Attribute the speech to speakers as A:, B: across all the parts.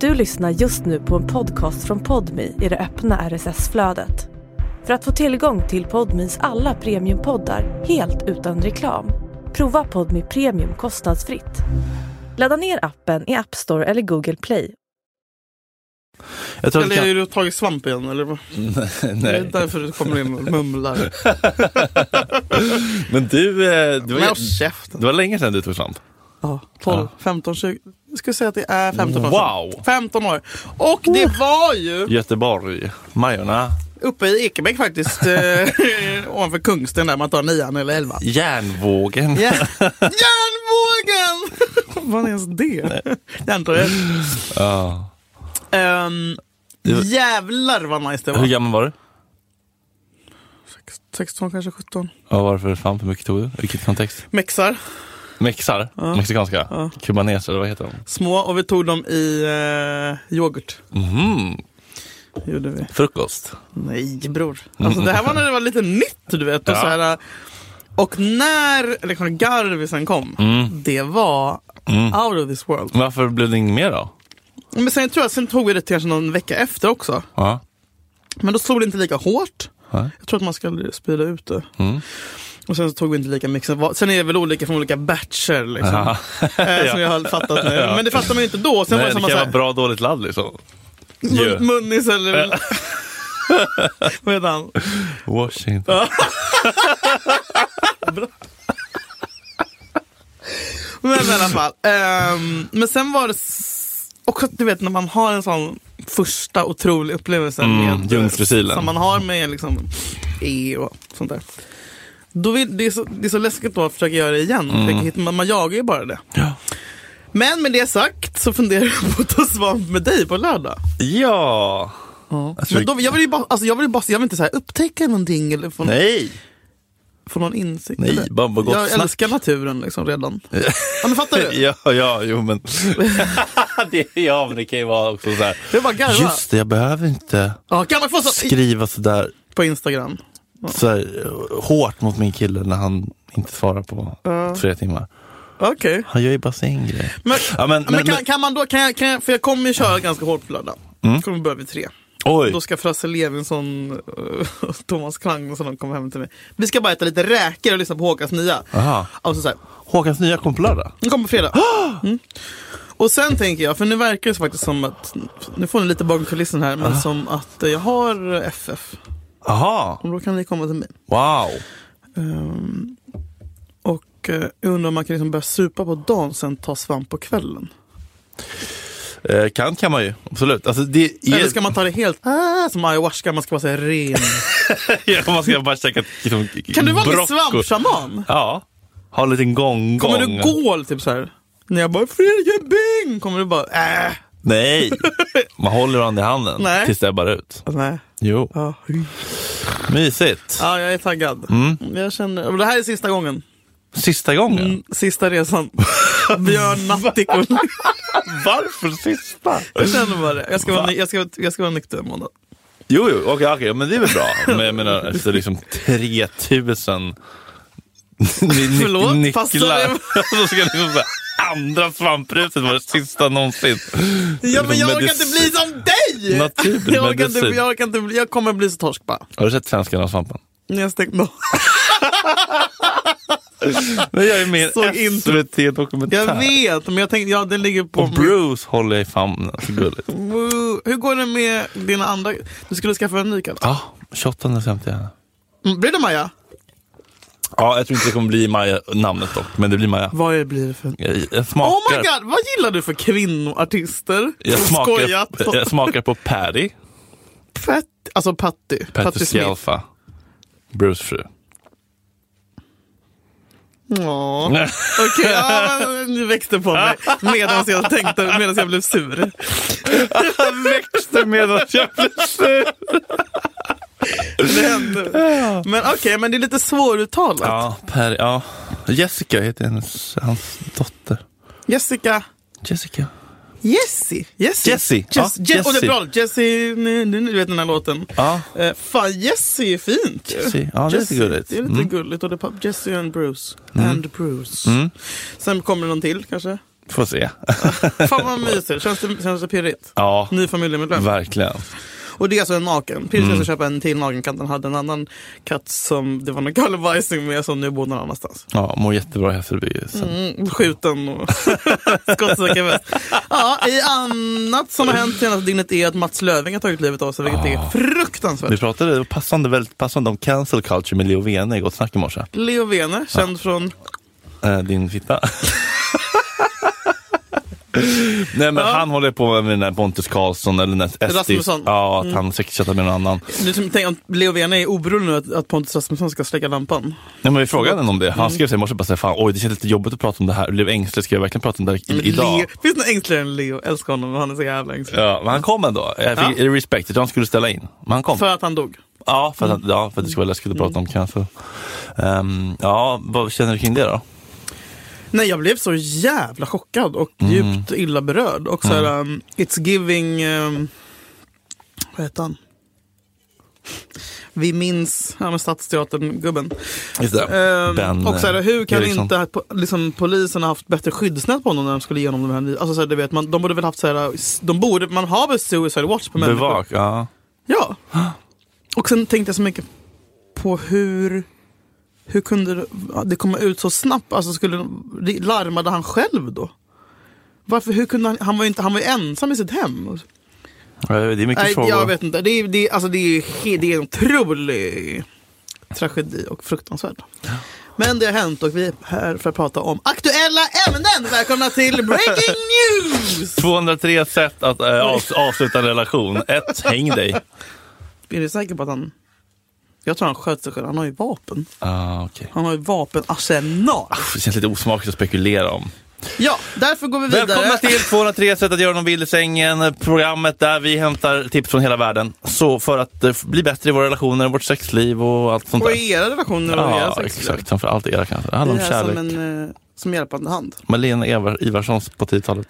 A: Du lyssnar just nu på en podcast från Podmi i det öppna RSS-flödet. För att få tillgång till Podmis alla premiumpoddar helt utan reklam, prova Podmi Premium kostnadsfritt. Ladda ner appen i App Store eller Google Play.
B: Jag tror att
C: Eller
B: det
C: är
B: kan...
C: du tagit svamp igen? Eller? vad? Det är
B: Nej.
C: därför du kommer in och mumlar.
B: Men du, eh, du
C: Men
B: var,
C: håll käften.
B: det var länge sedan du tog svamp.
C: Ja, 12, 15, 20. Jag skulle säga att det är 15 år sedan.
B: Wow.
C: 15 år. Och det var ju
B: Göteborg, Majorna,
C: uppe i Ekebäck faktiskt. eh, ovanför Kungsten där man tar nian eller elvan.
B: Järnvågen.
C: Yeah. Järnvågen! Vad är ens det? Järntorget.
B: Ja.
C: Um, jävlar vad nice det
B: Hur
C: var.
B: gammal var du?
C: 16 kanske 17.
B: Och varför svamp? Hur mycket tog du? Vilken kontext?
C: Mexar.
B: Mexar? Mexikanska? Kubaneser, vad heter de?
C: Små och vi tog dem i eh, yoghurt.
B: Mhm.
C: Gjorde vi.
B: Frukost.
C: Nej bror. Alltså, det här var när det var lite nytt du vet. Och,
B: Ja.
C: så här, och när liksom, garvisen kom,
B: Mm.
C: det var out of this world.
B: Varför blev det inget mer då?
C: Men sen, tror jag, sen tog vi det till kanske någon vecka efter också.
B: Ja.
C: Men då slog det inte lika hårt.
B: Nej.
C: Jag tror att man ska sprida ut det.
B: Mm.
C: Och sen så tog vi inte lika mycket. Sen var- Sen är det väl olika från olika batcher liksom.
B: Ja.
C: Eh, Som jag har fattat nu. Men det fattar man ju inte då. Sen
B: Nej, det
C: var
B: kan
C: det samma
B: vara bra dåligt ladd liksom.
C: såhär,
B: ju.
C: mun, munnis eller... Vad heter han?
B: Washington.
C: Men i alla fall. ehm, men sen var det s- också, du vet när man har en sån första otrolig upplevelse
B: Mm,
C: med
B: Ljungsfrikilen.
C: som man har med liksom E och sånt där. Då vill, det, är så, det är så läskigt då att försöka göra det igen.
B: Mm.
C: Försöka hitta- Man, man jagar ju bara det.
B: Ja.
C: Men med det sagt så funderar jag på att ta svamp med dig på lördag.
B: ja. Alltså,
C: Men då, jag vill ju bara, alltså jag vill ju bara, jag vill inte så här upptäcka någonting eller få,
B: Nej.
C: få någon insikt.
B: Nej,
C: eller-
B: bara- bara gott
C: jag
B: snack.
C: älskar naturen liksom redan. ja men fattar du?
B: Ja, ja, jo men. det, ja, men det kan ju vara också så här.
C: Jag bara garvar.
B: Just det, jag behöver inte
C: Ja, kan man få så,
B: skriva sådär
C: på Instagram.
B: så här, hårt mot min kille när han inte svarar på tre timmar.
C: Okej.
B: Han gör ju bara sin grej.
C: Men,
B: Ja, men-
C: men,
B: men-
C: kan,
B: men- Mm.
C: kan man då, kan jag, kan jag, för jag kommer ju köra ganska hårt på lördag. Kommer börja vid tre.
B: Oj,
C: Då ska Frasse Levinson eh, och Thomas Klang och så de kommer hem till mig. Vi ska bara äta lite räkor och lyssna på Håkans nya.
B: Aha.
C: Alltså så här,
B: Håkans nya kom på lördag.
C: den kommer på fredag. Mm. Och sen tänker jag, för nu verkar det faktiskt som att, nu får ni lite bakom kulissen här, men som att eh, jag har FF.
B: Aha,
C: Och då kan ni komma till mig.
B: wow.
C: Ehm, och eh, jag undrar om man kan liksom börja supa på dagen och sen ta svamp på kvällen.
B: Eh, kan kan man ju, absolut. Alltså, det är...
C: Eller ska man ta det helt ah, som ayahuasca, man ska vara så här ren.
B: Ja, man ska bara käka liksom,
C: Kan du vara min
B: broccoli.
C: svampshaman?
B: Ja, ha en liten gång
C: Kommer du gå typ så här? När jag bara Fredrik Bing! Kommer du bara äh,
B: Nej, man håller varandra i handen
C: Nej.
B: tills det ebbar ut.
C: Alltså, nej.
B: Jo,
C: Ja,
B: mysigt.
C: Ja, jag är taggad. Jag känner, och det här är sista gången.
B: Sista gången.
C: Mm, Sista resan. Björn Natthikul.
B: Varför sista?
C: Jag känner bara det. Jag ska vara, ny- jag ska, jag ska vara nykter en månad.
B: Jo, jo, okej, okej, men det är väl bra. Men jag menar, efter liksom 3000
C: Förlåt, passar
B: nycklar.
C: det?
B: Så ska liksom så här, andra svampruset vara det sista någonsin. Liksom
C: Ja, men jag orkar
B: Medicin-
C: inte bli som dig!
B: Naturmedicin.
C: Jag orkar inte, jag orkar inte bli, jag kommer bli så torsk bara.
B: Har du sett Svenskarna och svampen?
C: När jag stängt av.
B: Men jag är med
C: Såg
B: i en
C: inte-
B: SVT-dokumentär.
C: Jag vet, men jag tänkte, ja den ligger på...
B: Och Bruce håller i famnen, så gulligt.
C: Woo. Hur går det med dina andra... Du skulle skaffa en ny katt.
B: Ja, 28 december. ja.
C: Mm, Blir det Maja?
B: Ja, jag tror inte det kommer bli Maja namnet dock, men det blir Maja.
C: Vad är- blir det för...
B: Jag, jag
C: Oh
B: smakar,
C: my god, vad gillar du för kvinnoartister?
B: jag smakar,
C: Skojat.
B: jag smakar på Paddy,
C: Pat, alltså Patty.
B: Petter
C: Patty Smith.
B: Skelfa, Bruce fru.
C: Ja. Okej, ja, men du växte på mig medan jag tänkte, medan jag blev sur.
B: Han växte medan jag blev sur.
C: Det hände. Men okej, men det är lite svåruttalat.
B: Ja, per, ja. Jessica heter hennes, hans dotter.
C: Jessica...
B: Jessica.
C: Jessie. Jessie.
B: Jessie, ja,
C: Jess, Jess, Och det är bra.
B: Jessie.
C: Jessie, nu, nu, nu vet den här låten.
B: Ja.
C: Eh, fan, Jessie är fint ju.
B: Jessie, ja, det är lite
C: Jessie,
B: gulligt. Mm.
C: Det är
B: Mm.
C: lite gulligt. Och det är pop- Jessie and Bruce. And Bruce. Sen kommer det någon till kanske.
B: Får se.
C: Fan vad mysigt. Känns det, känns det pirrigt?
B: Ja,
C: Ny familjemedlem.
B: verkligen.
C: Och det är alltså en naken. Pirrigt mm. att köpa en till naken katt. Han hade en annan katt som det var någon gallerbajsning med som nu bor någon annanstans.
B: Ja, mår jättebra i Hässelby. sen.
C: Mm, skjuten och skottsäker väst. Ja, i annat som har hänt senaste dygnet är att Mats Löfving har tagit livet av sig, vilket är
B: Vi
C: fruktansvärt.
B: pratade det var passande, väldigt passande om cancel culture med Leo Vene i Gott Snack i morse.
C: Leo Vene,
B: Ah.
C: känd från...
B: Eh, din fitta. Nej men
C: Ja.
B: han håller på med den där Pontus Karlsson eller den där SD.
C: Rasmusson.
B: Ja, att han sexchattar med någon annan.
C: Nu som- Tänk om Leo Vene är oberoende nu att, att Pontus Rasmusson ska släcka lampan.
B: Nej men vi frågade honom om det.
C: Mm.
B: Han skrev sig i morse bara så här, fan oj det känns lite jobbigt att prata om det här. Jag blev ängslig, ska jag verkligen prata om det här i-
C: Men
B: idag?
C: Leo, finns det något enklare än Leo? Älskar honom, han är så jävla ängslig.
B: Ja, men han kom ändå. Jag fick respect. Jag tror han skulle ställa in. Men han kom.
C: För Mm. att han dog.
B: Ja, för att, ja, för att det skulle vara läskigt att prata om cancer. Ehm, ja, vad känner du kring det då?
C: Nej, jag blev så jävla chockad och
B: Mm.
C: djupt illa berörd. Och så här, um, it's giving... Um, vad heter han? Vi minns ja, men Stadsteatern-gubben.
B: Just
C: Ehm,
B: Ben,
C: och så här,
B: eh,
C: hur kan
B: Eriksson.
C: inte po- liksom, polisen ha haft bättre skyddsnät på honom när de skulle igenom de här... ny- Alltså, så här, du vet, man, de borde väl haft så här... s- De borde, man har väl suicide watch på människor?
B: Bevak, ja.
C: Ja. Och sen tänkte jag så mycket på hur... Hur kunde det- det komma ut så snabbt? Alltså skulle, larmade han själv då? Varför, hur kunde han, han var ju inte, han var ju ensam i sitt hem.
B: Ja, Det är mycket
C: Nej,
B: frågor.
C: jag vet inte. Det är, det, är- alltså, det är, ju he- det är en otrolig tragedi och fruktansvärt. Men det har hänt och vi är här för att prata om aktuella ämnen. Välkomna till Breaking News!
B: 203 sätt att eh, avs- avsluta en relation. Ett, Häng dig.
C: Är du säker på att han... Jag tror han sköt sig själv. Han har ju vapen.
B: Ah, okay.
C: Han har ju vapenarsenal.
B: Det känns lite osmakligt att spekulera om.
C: Ja, därför går vi vidare.
B: Välkomna till 203 sätt att göra någon vild i sängen. Programmet där vi hämtar tips från hela världen. Så för att eh, bli bättre i våra relationer, vårt sexliv och allt sånt
C: Och
B: där.
C: i era relationer och era
B: Ja,
C: sexliv.
B: exakt. Framförallt era kanske. Det handlar
C: Vi
B: om
C: är här som,
B: kärlek.
C: en, eh, som hjälpande hand.
B: Malena Evar, Ivarssons på 10-talet.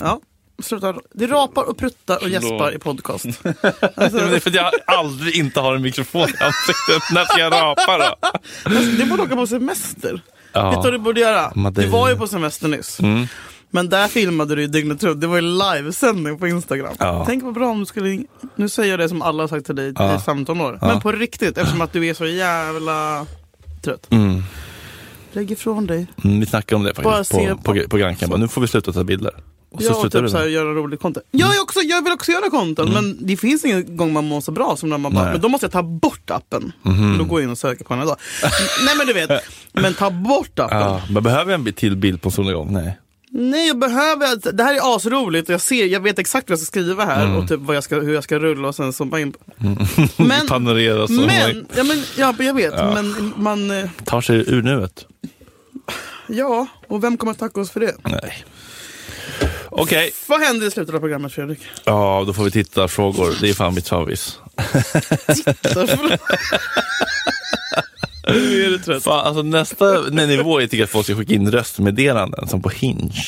C: Ja. Slutar. Det rapar och pruttar och gäspar i podcast. Alltså,
B: Men det är för att jag aldrig inte har en mikrofon i ansiktet. När ska jag rapa då?
C: du borde åka på semester.
B: Ja. Mm,
C: Vet du vad du borde göra?
B: Madeira.
C: Du var ju på semester nyss. Men där filmade du ju dygnet runt. Det var ju livesändning på Instagram.
B: Ja.
C: Tänk vad bra om du skulle... Nu säger jag det som alla har sagt till dig
B: Ja.
C: i 15 år.
B: Ja.
C: Men på riktigt, eftersom att du är så jävla trött.
B: Mm.
C: Lägg ifrån dig.
B: Mm, vi snackade om det
C: Bara
B: faktiskt
C: se
B: på, på,
C: på-
B: på Gran Canaria. Bara, Nu får vi sluta ta bilder. Och så
C: Ja, och
B: slutar
C: typ
B: vi
C: så här,
B: med
C: göra rolig content. Jag, är också, jag vill också göra content, men det finns ingen gång man mår så bra som när man bara,
B: Nej. Mhm.
C: men då måste jag ta bort appen. Då går jag in och söker på den idag. Nej men du vet, men ta bort appen.
B: Ja, men behöver jag en bi- till bild på en sån gång? Nej.
C: Nej jag behöver, det här är asroligt och jag ser, jag vet exakt vad jag ska skriva här
B: Mm.
C: och typ vad jag ska, hur jag ska rulla och sen zooma in. på- Men,
B: Panorera så
C: men, ja, men ja, jag vet, men man, eh,
B: man tar sig ur nuet.
C: ja, och vem kommer att tacka oss för det?
B: Nej. Okej,
C: Vad händer i slutet av programmet Fredrik?
B: ja då får vi titta frågor. Det är fan mitt favvis.
C: nu är du trött.
B: Fan, alltså nästa nivå är tycker jag att folk ska skicka in röstmeddelanden som på Hinge.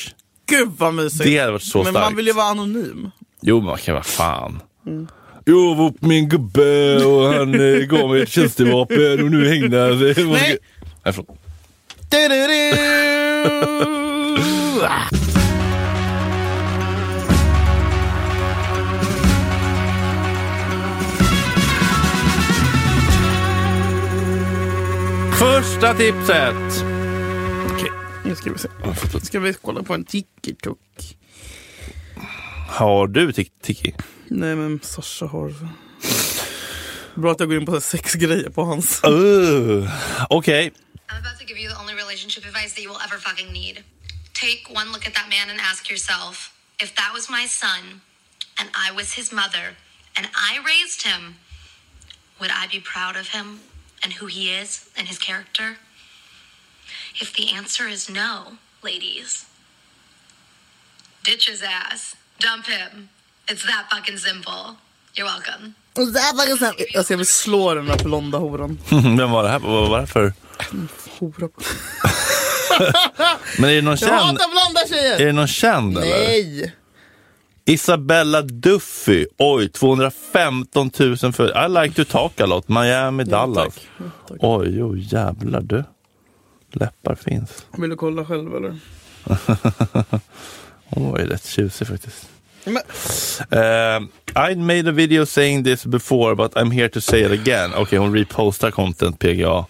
C: Gud vad mysigt.
B: Det hade varit så
C: Men man
B: starkt.
C: vill ju vara anonym.
B: Jo, men man kan vara fan. Jag var upp med en gubbe och han eh, gav mig ett tjänstevapen och nu hängde han sig.
C: Nej.
B: Nej, förlåt.
C: Du-du-du!
B: Första tipset!
C: Nu ska vi se. Ska vi kolla på en TikTok?
B: Har du Tik- Tiki?
C: Nej men Sasha har... Bra att jag går in på så här sexgrejer på hans.
B: Uh, Okej.
D: I'm about to give you the only relationship advice that you will ever fucking need. Take one look at that man and ask yourself if that was my son and I was his mother and I raised him, would I be proud of him and who he is and his character? If the answer is no, ladies, ditch his ass, dump him. It's that fucking simple. You're welcome.
C: Alltså jag vill slå den där blonda horan.
B: Vem var det här? Vad var det för?
C: Hora.
B: Men är det någon
C: Jag
B: känd?
C: hatar blonda
B: Är
C: tjejer!
B: det någon känd eller?
C: Nej!
B: Isabella Duffy. Oj, 215 000 för... I like to talk a lot. Miami, Dallas.
C: tack.
B: Oj, oj, jävlar du. Läppar finns.
C: Vill du kolla själv eller?
B: Hon var ju rätt tjusig faktiskt.
C: Men,
B: Ehm, I made a video saying this before but I'm here to say it again. Okej, hon repostar content PGA.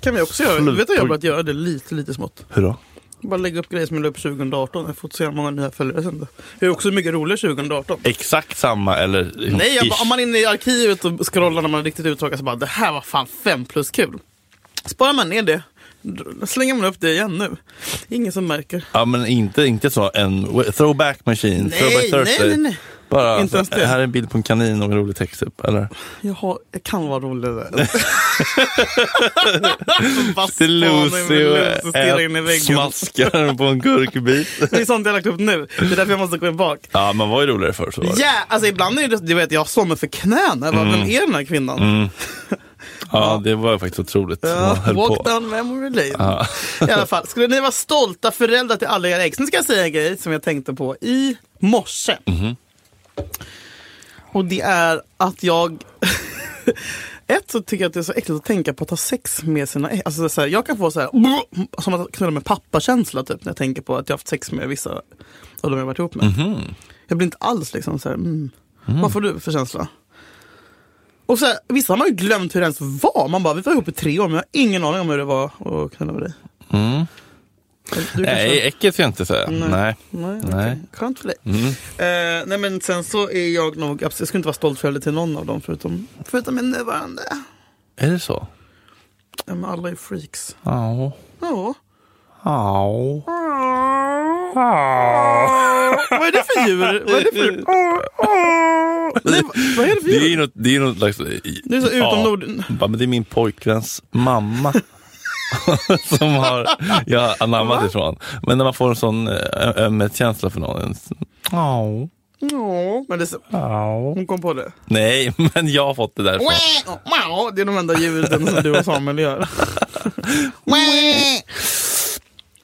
C: kan vi också göra.
B: Slut
C: Vet du jag har
B: på-
C: börjat göra det lite, lite smått.
B: Hurra.
C: Bara lägga upp grejer som jag la upp 2018. Jag får se hur många nya följare sen. då. Det är också mycket roligare 2018.
B: Exakt samma eller liksom,
C: Nej, jag,
B: ish.
C: bara- om man är inne i arkivet och scrollar när man är riktigt uttråkad så bara det här var fan fem plus kul. Sparar man ner det, dr- slänger man upp det igen nu. Ingen som märker.
B: Ja, men inte, inte så en throwback machine.
C: Nej,
B: throwback
C: nej,
B: Thursday.
C: nej, nej.
B: Bara,
C: Inte ens
B: alltså,
C: det.
B: Här är en bild på en kanin och en rolig text typ, eller?
C: Jag, har, jag kan vara roligare. Bara
B: Till
C: spana in
B: Lucy
C: med
B: och
C: Lucy och stirra in i
B: ät-
C: väggen.
B: smaskar den på en gurkbit.
C: Det är sånt jag har lagt upp nu. Det är därför jag måste gå bak.
B: ja, man var ju roligare förr. Så var
C: Ja,
B: det.
C: alltså ibland är det, du vet, jag somnar för knäna.
B: Mm.
C: Jag bara, Vem är den här kvinnan?
B: Ja, det var faktiskt otroligt.
C: Ja,
B: Man höll
C: walk
B: på.
C: down memory lane. I alla fall, skulle ni vara stolta föräldrar till alla era ex? Nu ska jag säga en grej som jag tänkte på i morse.
B: Mhm.
C: Och det är att jag... Ett så tycker jag att det är så äckligt att tänka på att ha sex med sina ex. Alltså, så här, jag kan få så här, som att knulla med pappa-känsla typ, när jag tänker på att jag har haft sex med vissa av de jag har varit ihop med. Jag blir inte alls liksom så här, mm. vad får du för känsla? Och så här, vissa har man ju glömt hur det ens var. Man bara, vi var ihop i tre år men jag har ingen aning om hur det var att knulla med dig. Mm. Du kanske-
B: Nej, äckligt ska jag inte säga. Nej.
C: Nej,
B: Nej. Mm.
C: okej. Skönt för dig. Eh, nej men sen så är jag nog, jag skulle inte vara stolt förälder till någon av dem förutom, förutom min nuvarande.
B: Är det så?
C: Ja, men alla är freaks.
B: Ja.
C: Ja.
B: Ja.
C: Vad är det för djur? Vad är det för djur? Nej, vad- vad är det för
B: Det är
C: djur?
B: ju något, det är något slags... eh,
C: Det är så utom
B: ja.
C: Norden.
B: Bara, men det är min pojkväns mamma. som har, jag har anammat ifrån. Men när man får en sån eh, ömhetskänsla för någon. en sån- Ja.
C: Ja, men det är så,
B: Ja.
C: hon kom på det.
B: Nej, men jag har fått det därifrån.
C: Ja, det är de enda ljuden som du och Samuel gör.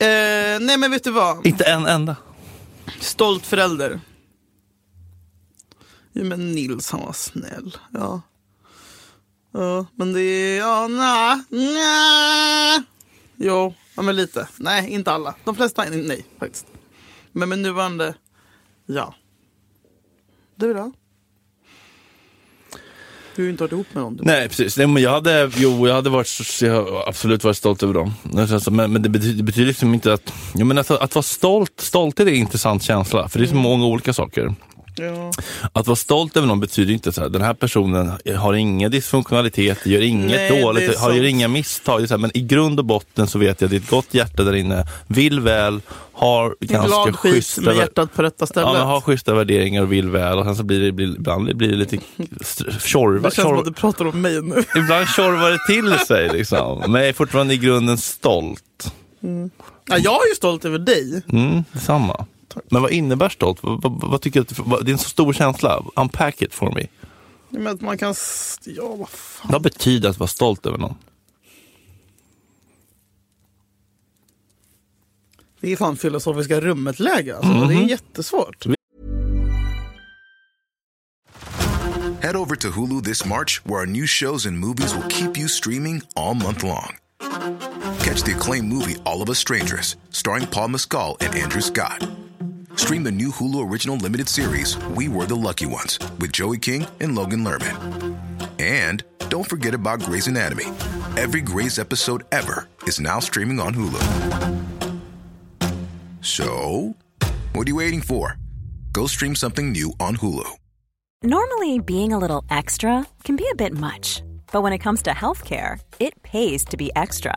C: Eh, nej men vet du vad?
B: Inte en enda.
C: Stolt förälder. Jo men Nils han var snäll. Ja. Ja men det är, ja nej, nej. Jo, ja, men lite. Nej inte alla. De flesta nej faktiskt. Men med nuvarande, ja. Du då? Du har ju inte varit ihop med någon. Du.
B: Nej, precis. Nej, men jag hade, jo, jag hade varit, jag har absolut varit stolt över dem. Alltså, Men, men det betyder, det betyder liksom inte att... Jag menar, att, att vara stolt, stolthet är en intressant känsla. För det är så
C: Mm.
B: många olika saker.
C: Ja.
B: Att vara stolt över någon betyder inte så här, den här personen har ingen dysfunktionalitet, gör inget
C: Nej, det
B: dåligt,
C: är
B: har, gör
C: sant.
B: inga misstag. Det är så här, men i grund och botten så vet jag att det är ett gott hjärta där inne, vill väl, har ganska
C: Glad skit
B: schyssta,
C: med
B: vär-
C: hjärtat på rätta stället.
B: ja, men har schyssta värderingar och vill väl. Och sen så blir det, blir, ibland blir det lite str- tjorva,
C: det känns som att
B: tjorva,
C: du pratar om mig nu.
B: ibland tjorvar det till sig liksom. Men jag är fortfarande i grunden stolt.
C: Ja, jag är ju stolt över dig.
B: Mm, detsamma. Men vad innebär stolt? Vad, vad, vad tycker du att, vad, det är en så stor känsla. Unpack it for me.
C: Men att man kan... s- Ja, vad fan.
B: Vad betyder att vara stolt över någon?
C: Det är fan filosofiska rummet-läge. Alltså. Det är jättesvårt.
E: Head over to Hulu this March, where our new shows and movies will keep you streaming all month long. Catch the acclaimed movie All of Us Strangers, starring Paul Mescal and Andrew Scott. Stream the new Hulu original limited series We Were the Lucky Ones with Joey King and Logan Lerman. And don't forget about Grey's Anatomy. Every Grey's episode ever is now streaming on Hulu. So, what are you waiting for? Go stream something new on Hulu.
F: Normally, being a little extra can be a bit much, but when it comes to healthcare, it pays to be extra.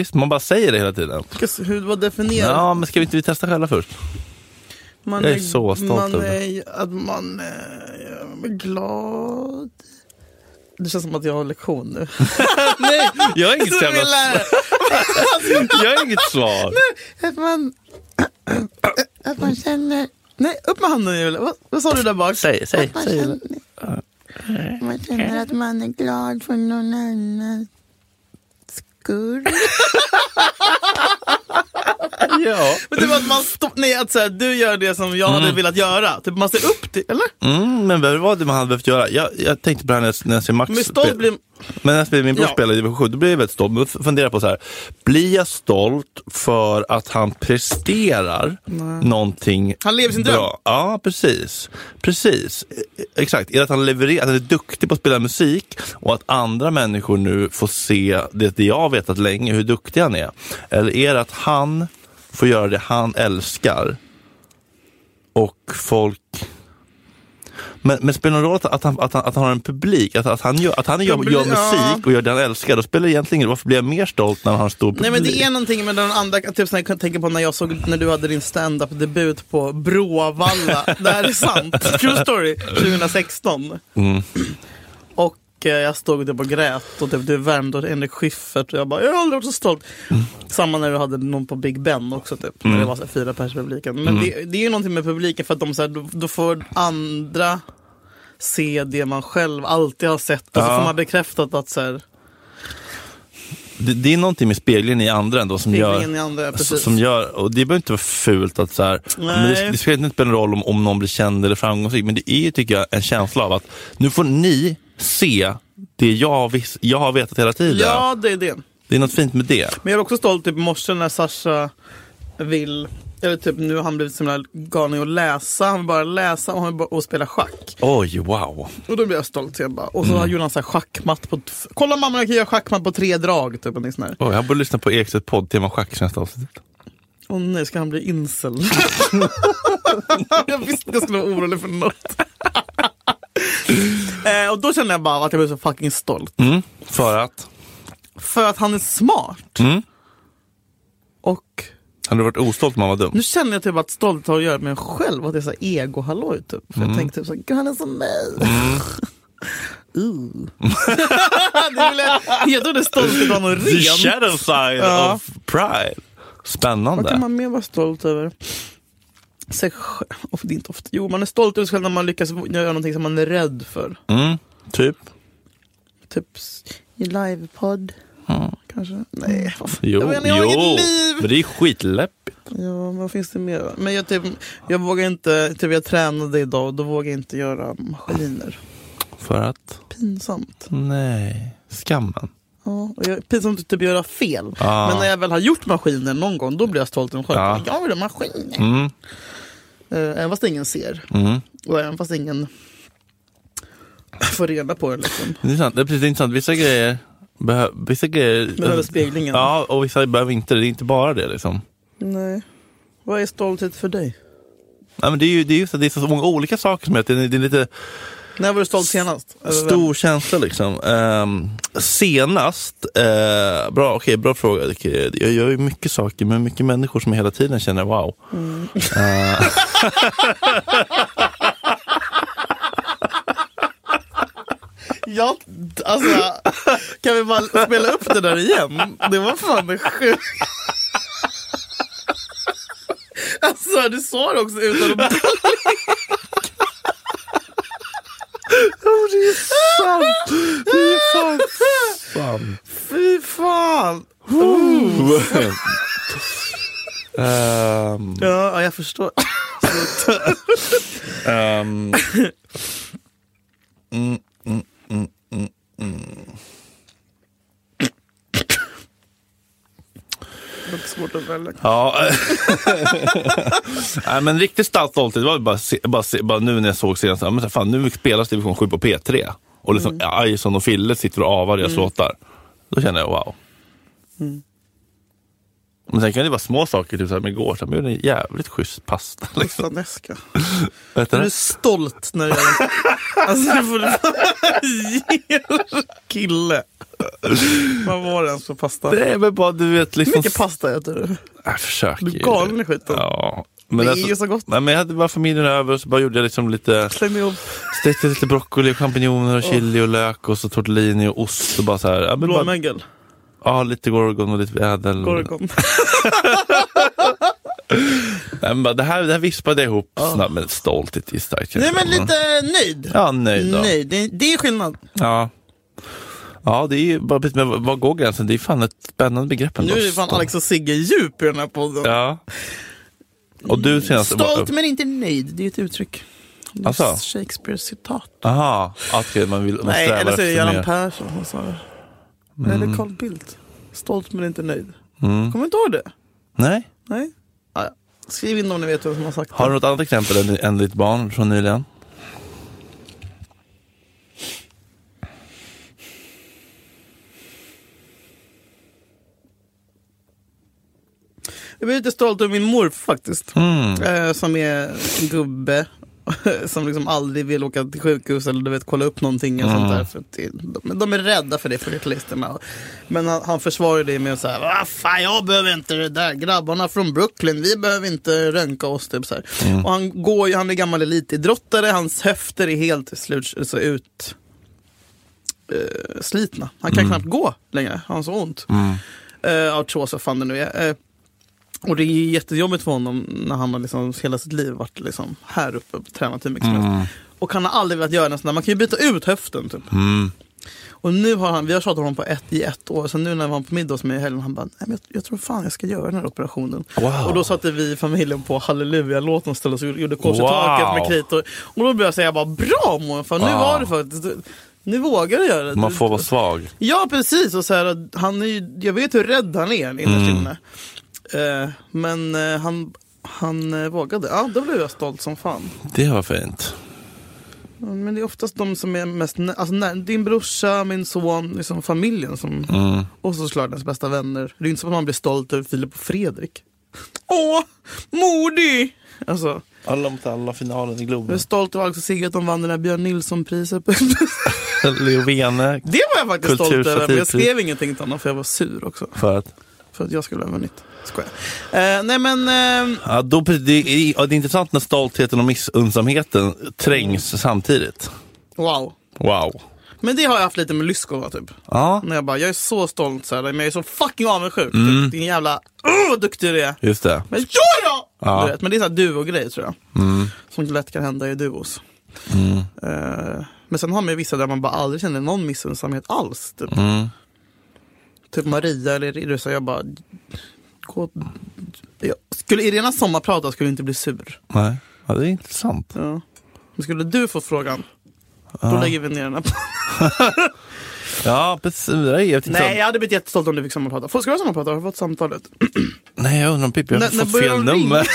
B: Just, man bara säger det hela tiden.
C: Vilka- Hur vad definierar
B: Ja, men ska vi inte vi testa själva först?
C: man?
B: jag är så stolt
C: man
B: över
C: är, Att man är glad. Det känns som att jag har lektion nu. Nej,
B: Jag har inget,
C: så vill
B: jävla,
C: jag-
B: jag har inget svar.
C: Att man, att man känner Nej, upp med handen Julia. Vad, vad sa du där bak?
B: Säg, säg,
C: Vad
B: säg,
C: känner-
B: Julia.
C: Man känner att man är glad för någon annans skull.
B: Ja.
C: Men det var att man stå, nej, att så här, du gör det som jag hade velat göra. Typ man ser upp till, eller?
B: Mm, men vad var det man hade behövt göra? Jag, jag tänkte på det här när jag- när jag ser Max
C: Men stolt
B: spela-
C: blir...
B: Men när jag spelade min bror
C: Ja.
B: spelade i division 7, då blev jag väldigt stolt. Men jag funderar på så här, blir jag stolt för att han presterar någonting
C: Han lever sin
B: bra?
C: dröm.
B: Ja, precis. Precis. E- Exakt. Är det att han levererar, att han är duktig på att spela musik och att andra människor nu får se det det jag har vetat länge, hur duktig han är? Eller är det att han får göra det han älskar och folk men, men spelar det någon roll att, att, han, att, han, att han har en publik? Att, att han, gör, att han gör,
C: Publi-
B: gör
C: ja.
B: musik och gör det han älskar? Då spelar det egentligen ingen roll. Varför blir jag mer stolt när han har en stor publik?
C: Nej men det är någonting med den andra, typ som jag kan tänka på när jag såg när du hade din stand-up debut på Bråvalla. det här är sant, true story, 2016.
B: Mm.
C: Och eh, jag stod typ och grät och typ, du värmde åt Henrik Schyffert och jag bara, jag har aldrig varit så stolt.
B: Mm.
C: Samma när du hade någon på Big Ben också typ, när det var så här, fyra pers i publiken. Men
B: Mm.
C: det, det är ju någonting med publiken för att de så här, då, då får andra se det man själv alltid har sett och så
B: Ja.
C: får man bekräftat att så här,
B: det, det är någonting med speglingen i andra ändå som gör...
C: speglingen i andra, precis.
B: Alltså, Som gör, och det behöver inte vara fult att så här,
C: Nej.
B: men det, det spelar inte någon roll om, om någon blir känd eller framgångsrik, men det är ju, tycker jag en känsla av att nu får ni se det jag, har vis, jag har vetat hela tiden.
C: Ja, det är det.
B: Det är något fint med det.
C: Men jag är också stolt typ i morse när Sasha vill, eller typ nu har han blivit så himla galen i att läsa, han vill bara läsa och, han vill bara, och spela schack.
B: Oj, wow.
C: Och då blir jag stolt. Så jag bara, och så
B: Mm.
C: gjorde han så här schackmatt på, t- kolla mamma jag kan göra schackmatt på tre drag. Typ, och sån här.
B: Oj, jag borde lyssna på Ekstedt podd, tema schack, nästa avsnitt.
C: Och nej, ska han bli incel? jag visste att jag skulle vara orolig för något. eh, och då kände jag bara att jag blev så fucking stolt.
B: Mm, för att?
C: För att han är smart.
B: Mm.
C: Och
B: Hade du varit ostolt om han var dum?
C: Nu känner jag typ att stolthet har att göra med mig själv, att det är så här ego-halloj typ.
B: Mm.
C: För Jag tänkte typ så här, "Gud, han är som mig. Uh. det är väl en- jag trodde stolthet var något
B: The
C: rent.
B: shadow side
C: Ja.
B: of pride.
C: Vad kan
B: Spännande.
C: man mer vara stolt över? Sig själv. Och det är inte ofta. Jo, man är stolt över sig själv när man lyckas göra någonting som man är rädd för.
B: Mm, typ.
C: Typ s- i livepodd. Kanske? Nej, vad fan.
B: Mm. Jo,
C: jag, menar, jag har
B: jo.
C: inget liv.
B: Men det är skitläppigt.
C: Ja, vad finns det mer? Men jag, typ, jag vågar inte, typ jag tränade idag och då vågar jag inte göra maskiner.
B: För att?
C: Pinsamt.
B: Nej. Skammen.
C: Ja, och jag, pinsamt att typ göra fel.
B: Ja.
C: Men när jag väl har gjort maskiner någon gång, då blir jag stolt över mig själv.
B: Ja.
C: Jag gjorde maskiner.
B: Ah. Mm,
C: Eh, även fast ingen ser.
B: mm.
C: Och även fast ingen får reda på det. Liksom.
B: Det är sant. Det är precis det är intressant. Vissa grejer behöver... Vissa grejer...
C: Behöver speglingen.
B: Ja, och vissa behöver inte det. Det är inte bara det liksom.
C: Nej. Vad är stolthet för dig?
B: Nej, men det är ju det är just att det är så många olika saker som gör att det är, det är lite...
C: När var du stolt senast? Över vem?
B: Stor känsla liksom. Ehm, senast, eh, bra, okay, bra fråga. Jag gör ju mycket saker med mycket människor som jag hela tiden känner wow. Eh.
C: Ja, alltså, kan vi bara spela upp det där igen? Det var fan det sjukt. Alltså du sa det också utan att blinka. Fy fan! Eh,
B: Ehm,
C: Ja, ja, jag förstår.
B: ehm,
C: Det är svårt att välja.
B: ja. Nej, men riktigt stark stolthet. Det var bara, se, bara, se, bara nu när jag såg senast. ja, Men så här, fan, nu spelas Division 7 på P3. Och liksom
C: Mm.
B: Ison och Fille sitter och avar deras låtar. Då känner jag wow.
C: Mm.
B: Men sen kan det vara små saker, typ som igår. Så här, men jag gjorde en jävligt schysst pasta. Liksom.
C: Faneska.
B: Vet du
C: Du är
B: det?
C: stolt när du gör det. Alltså det får du fan ge kille. Vad var det ens för pasta?
B: Nej, men bara du vet
C: Hur
B: liksom...
C: mycket pasta äter du?
B: Jag försöker
C: Du är
B: ju.
C: galen i skiten.
B: Ja. Men alltså,
C: Det är ju så gott.
B: Nej, men jag hade bara familjen över och så bara gjorde jag liksom lite...
C: Släng ihop
B: Stekte lite broccoli, och champinjoner och chili och lök och så tortellini och ost och bara så här. Ja, men bara,
C: blåmögel.
B: ja lite gorgon och lite ädel.
C: Gorgon.
B: Nej, men bara, det, här, det här vispade jag ihop snabbt med stolthet i starkt.
C: Nej men lite nöjd.
B: Ja, nöjd då.
C: Nej, det, det är skillnad.
B: Ja. Ja, det är ju bara precis, men vad går gränsen? Det är fan ett spännande begrepp ändå.
C: Nu är det fan Alex och Sigge djup i den här podden.
B: Ja. Och du senast...
C: Stolt men inte nöjd, det är ett uttryck. Det är
B: Alltså?
C: Shakespeares citat.
B: Aha, okej, man vill... Man
C: Nej,
B: strävar
C: eller så är det
B: efter mer.
C: Göran Persson som sa det.
B: Mm.
C: Eller Carl Bildt. Stolt men inte nöjd. Kommer du inte ihåg det?
B: Nej.
C: Nej. Ja, ja. Skriv in om ni vet vem som har sagt
B: Har du
C: det.
B: något annat exempel än, än ditt barn från nyligen?
C: Jag blir lite stolt över min morfar faktiskt.
B: Mm.
C: Eh, som är en gubbe. som liksom aldrig vill åka till sjukhus eller du vet kolla upp någonting. Och
B: Mm.
C: sånt där. För att det- de, de är rädda för det 40-talisterna. Men han, han försvarar det med så här, "Va fan jag behöver inte det där. Grabbarna från Brooklyn, vi behöver inte röntga oss. Typ, så här.
B: Mm.
C: Och han, går, ju- han är gammal elitidrottare, hans höfter är helt till slut så ut eh, slitna. Han
B: Mm.
C: kan knappt gå längre, han har så ont. Eh, artros, vad fan det nu är. Eh, och det är ju jättejobbigt för honom när han har liksom hela sitt liv varit liksom här uppe och tränat hur mycket
B: Mm.
C: som helst. Och han har aldrig velat göra en sån där, man kan ju byta ut höften typ.
B: Mm.
C: Och nu har han, vi har tjatat om honom på ett, i ett år, så nu när han var på middag hos mig i helgen, han bara, Nej, men jag, jag tror fan jag ska göra den här operationen.
B: Wow.
C: Och då satte vi i familjen på halleluja-låten och ställde oss och gjorde kors i taket
B: Wow.
C: med kritor. Och då började jag säga bara, bra morfar, nu
B: Wow.
C: var det faktiskt, nu vågar du göra det.
B: Man
C: Du-
B: får vara svag.
C: Ja, precis. Och så här, att han är ju, jag vet hur rädd han är
B: Mm.
C: innerst inne. Eh, men eh, han, han eh, vågade. Ja, då blev jag stolt som fan.
B: Det var fint.
C: Men det är oftast de som är mest... nä- Alltså, när, din brorsa, min son, liksom familjen. Som,
B: Mm.
C: Och så såklart ens bästa vänner. Det är inte som att man blir stolt över Filip och Fredrik. Åh, modig! Alltså,
B: Alla mot alla, finalen i
C: jag är
B: Globen.
C: stolt över Alex och Sigge att de vann det där Björn Nilsson-priset.
B: Leovene.
C: det var jag faktiskt stolt över. Men jag
B: Kultursatirpris.
C: skrev ingenting till honom för jag var sur också.
B: För att,
C: För att jag skulle ha vunnit. Skojar. Eh, nej men, eh,
B: ja, då, det, är, ja, det är intressant när stoltheten och missunnsamheten trängs samtidigt.
C: wow.
B: Wow.
C: Men det har jag haft lite med Lyskova typ.
B: Ja,
C: När jag bara, jag är så stolt så här, men jag är så fucking avundsjuk.
B: Mm.
C: Typ. Din jävla, oh, vad duktig du är.
B: just det.
C: Men jag då!
B: Ja. Mm.
C: Du vet, men det är såhär duo-grej tror jag. Som lätt kan hända i duos. Eh, men sen har man ju vissa där man bara aldrig känner någon missunnsamhet alls. Typ,
B: Mm.
C: typ Maria eller Irene, så jag bara, gå, jag, skulle Irena sommarprata skulle jag inte bli sur.
B: Nej. Ja, det är intressant.
C: Ja. Men skulle du få frågan, då lägger vi ner den här
B: Ja, precis. Det där är jävligt
C: Nej,
B: intressant.
C: jag hade blivit jättestolt om du fick sammanprata. Får- Ska du ha sammanprata? Har du fått samtalet?
B: Nej, jag undrar om Pippi har
C: När- när
B: fått
C: börjar
B: fel
C: de ringa?
B: nummer.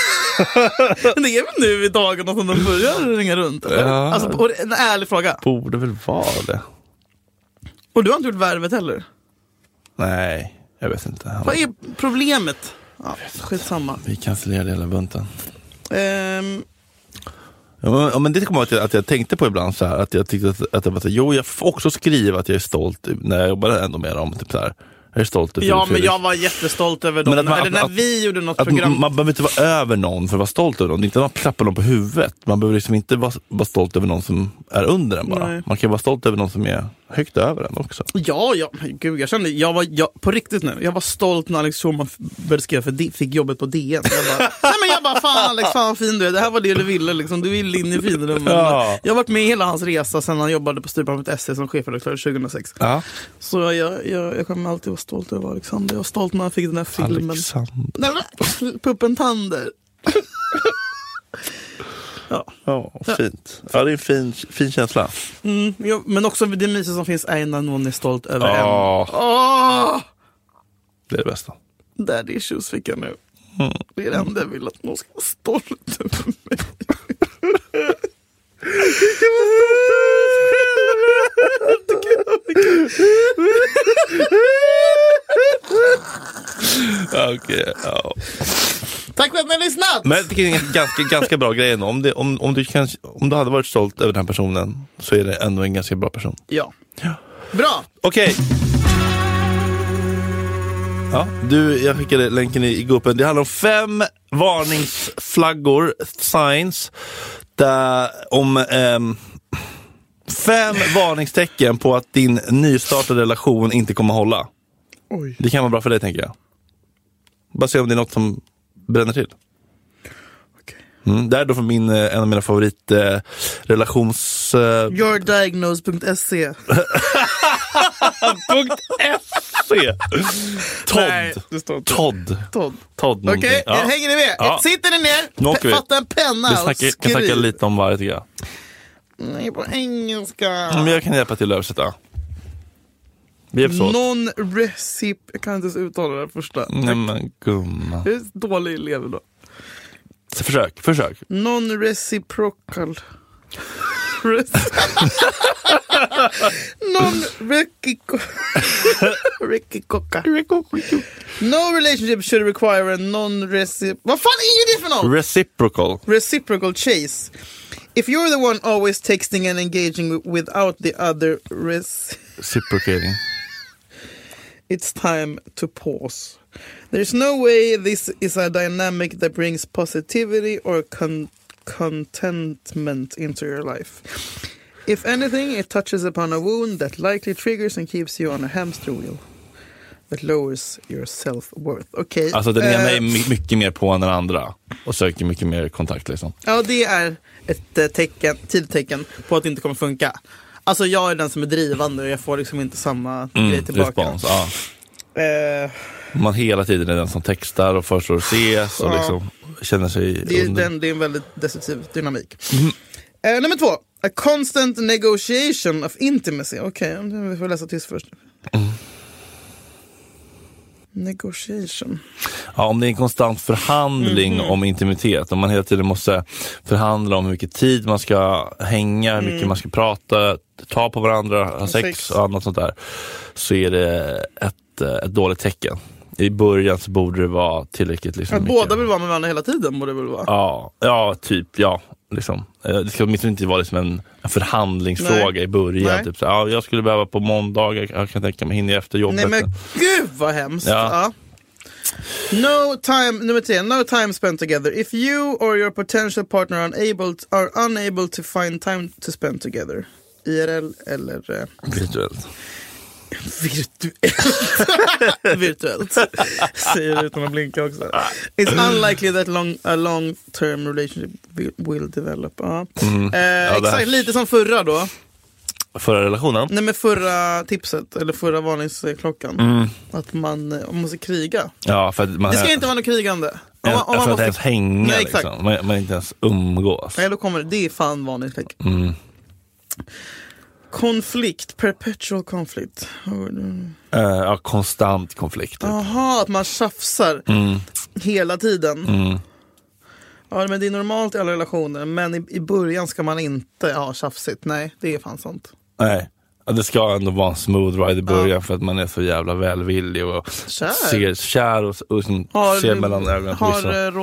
C: Men det är väl nu i dagarna som de börjar ringa runt? Eller?
B: Ja.
C: Alltså, och det- en ärlig fråga.
B: Borde väl vara det.
C: Och du har inte gjort värvet heller?
B: Nej, jag vet inte.
C: Vad är problemet? Ja, skitsamma.
B: Vi cancellerade hela bunten.
C: Ehm,
B: Ja, men- ja, men det kommer jag ihåg att jag, att jag tänkte på ibland, så här, att jag tyckte att, att jag bara, så här, jo jag får också skriva att jag är stolt när jag jobbade ändå med dem. Typ så här. Jag är stolt över
C: ja, men
B: Fredrik.
C: jag var jättestolt över dem.
B: Men att man-
C: Eller när
B: att-
C: vi gjorde något
B: att
C: program.
B: Man behöver inte vara över någon för att vara stolt över någon. Det är inte att man klappar någon på huvudet. Man behöver liksom inte vara, vara stolt över någon som är under en bara.
C: Nej.
B: Man kan vara stolt över någon som är högt över en också.
C: Ja, ja, men gud jag kände, jag var, jag, på riktigt nu, jag var stolt när Alex Schulman f- började skriva för D- fick jobbet på DN. Jag bara, nej men jag bara, fan Alex, fan vad fin du är, det här var det du ville liksom, du ville in i finrummen.
B: Ja.
C: Jag har varit med i hela hans resa sedan han jobbade på Styrplan.se som chefredaktör 2006.
B: Ja.
C: Så jag, jag, jag kommer alltid vara stolt över Alexander, jag var stolt när han fick den här filmen.
B: Alexander.
C: Nej, men, Puppen Tander. ja.
B: Ja, fint. Ja, det är en fin, fin känsla.
C: Ja, Mm, men också det mysiga som finns är när någon är stolt över en.
B: Ja,
C: Åh!
B: det är det bästa.
C: Daddy issues fick jag nu. Det är det enda jag vill att någon ska vara stolt över mig.
B: Okej, ja.
C: Tack för att ni har lyssnat!
B: Men jag tycker det är en ganska, ganska bra grej ändå. Om, det, om, om, du kan, om du hade varit stolt över den här personen så är det ändå en ganska bra person.
C: Ja. Bra!
B: Okej. Ja, du, jag skickade länken i, i gruppen. Det handlar om fem varningsflaggor, signs, där, om ehm, fem varningstecken på att din nystartade relation inte kommer hålla.
C: Oj.
B: Det kan vara bra för dig, tänker jag. Bara se om det är något som bränner till. Mm, det här är då från min, eh, en av mina favorit eh, relations... Eh,
C: Yourdiagnose.se.
B: punkt FC.
C: Nej,
B: Todd.
C: det står inte.
B: Todd.
C: Todd.
B: Todd
C: Okej,
B: någonting. Ja.
C: hänger ni med?
B: Ja.
C: Sitter ni
B: Nu
C: ner?
B: åker
C: Pe-
B: vi.
C: Fatta en penna
B: Vi
C: och
B: snackar, kan
C: skriv.
B: snacka lite om varje tycker jag.
C: Nej, på engelska.
B: Men jag kan hjälpa till att översätta. Vi hjälps åt.
C: Non-recip... Jag kan inte ens uttala det här första.
B: Nej men gumman.
C: Jag är så dålig elev då.
B: Så Försök, försök.
C: Non-reciprocal. Reci- Non-reciprocal. No relationship should require a non-recip... Vad fan är det för något?
B: Reciprocal.
C: reciprocal chase. If you're the one always texting and engaging wi- without the other, res-
B: Reciprocating.
C: it's time to pause. There's no way this is a dynamic that brings positivity or con- contentment into your life. If anything, it touches upon a wound that likely triggers and keeps you on a hamster wheel that lowers your self-worth. Okej.
B: Alltså den
C: eh,
B: ena är my- mycket mer på än den andra. Och söker mycket mer kontakt liksom.
C: Ja, det är ett eh, tecken, tidigt tecken på att det inte kommer funka. Alltså jag är den som är drivande och jag får liksom inte samma grej
B: Mm,
C: tillbaka.
B: respons. Ja.
C: Eh,
B: Man hela tiden är den som textar och föreslår ses och
C: Ja.
B: liksom känner sig
C: det, är
B: under. Mm.
C: den, det är en väldigt destruktiv dynamik. Eh, nummer två. A constant negotiation of intimacy. Okej, okay, vi får läsa tyst först.
B: Mm.
C: Negotiation.
B: Ja, om det är en konstant förhandling
C: Mhm.
B: om intimitet, om man hela tiden måste förhandla om hur mycket tid man ska hänga, hur mycket man ska prata, ta på varandra, ha sex,
C: Mm. Sex.
B: och annat sånt där, så är det ett, eh, ett dåligt tecken. I början så borde det vara tillräckligt liksom,
C: Att
B: mycket.
C: båda vill vara med varandra hela tiden borde det väl vara.
B: Ja, ja typ. Ja, liksom. Eh, Det ska åtminstone inte vara liksom en, en förhandlingsfråga
C: Nej.
B: i början.
C: Nej.
B: Typ, så, här, ja, jag skulle behöva på måndagar, jag kan tänka mig hinner jag efter jobbet.
C: Nej men gud vad hemskt.
B: Ja.
C: Ja. No time, nummer tre, no time spent together. If you or your potential partner are unable, are unable to find time to spend together. IRL eller eh,
B: Virtuellt.
C: virtuellt. virtuellt. Säger det utan att blinka också. It's unlikely that long, a long term relationship will- will develop. Ja. Eh,
B: Mm. här-
C: exakt, lite som förra då.
B: Förra relationen?
C: Nej men förra tipset, eller förra varningsklockan. Att man, eh, man måste kriga.
B: Mm. Ja, för att man
C: Det ska inte vara något krigande. Om man, om
B: för
C: man
B: att
C: måste...
B: ens hänga
C: Nej, exakt.
B: liksom. Man, man inte ens umgås.
C: Nej, då kommer det. Det är fan vanligt. Like.
B: Mm.
C: Konflikt, perpetual conflict. Mm.
B: Eh, ja, konstant Mm. konflikt. Typ.
C: Jaha, att man tjafsar hela tiden.
B: Mm.
C: Ja, men det är normalt i alla relationer, men i, i början ska man inte ha tjafsigt. Nej, det är fan sant.
B: Nej. Ja, Det ska ändå vara en smooth ride i början för att man är så jävla välvillig och
C: Kär.
B: ser kär och, och liksom ser mellan ögonen. på
C: har
B: vissa.
C: eh, Ro-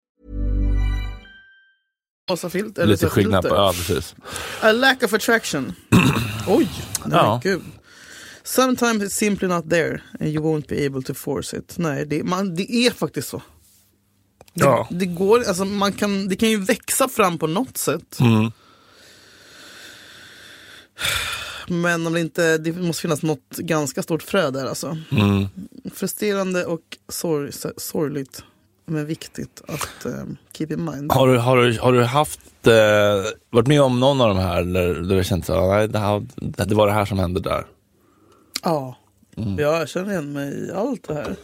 C: rosa filter. eller
B: Lite
C: så här
B: skillnad. på-
C: filter.
B: Ja, precis.
C: A lack of attraction. Oj, nej
B: Ja.
C: gud. Sometimes it's simply not there and you won't be able to force it. Nej, det, man, det är faktiskt så. Det,
B: Ja.
C: det, går, alltså, man kan, det kan ju växa fram på något sätt.
B: Mm, Mm.
C: Men om det inte, det måste finnas något ganska stort frö där alltså.
B: mm.
C: Frustrerande och sorg, sorgligt. Men viktigt att eh, keep in mind.
B: Har du, har du, har du haft, eh, varit med om någon av de här där, där du känt att nej, det, här, det var det här som hände där? Mm.
C: Ja, jag känner igen mig i allt det här.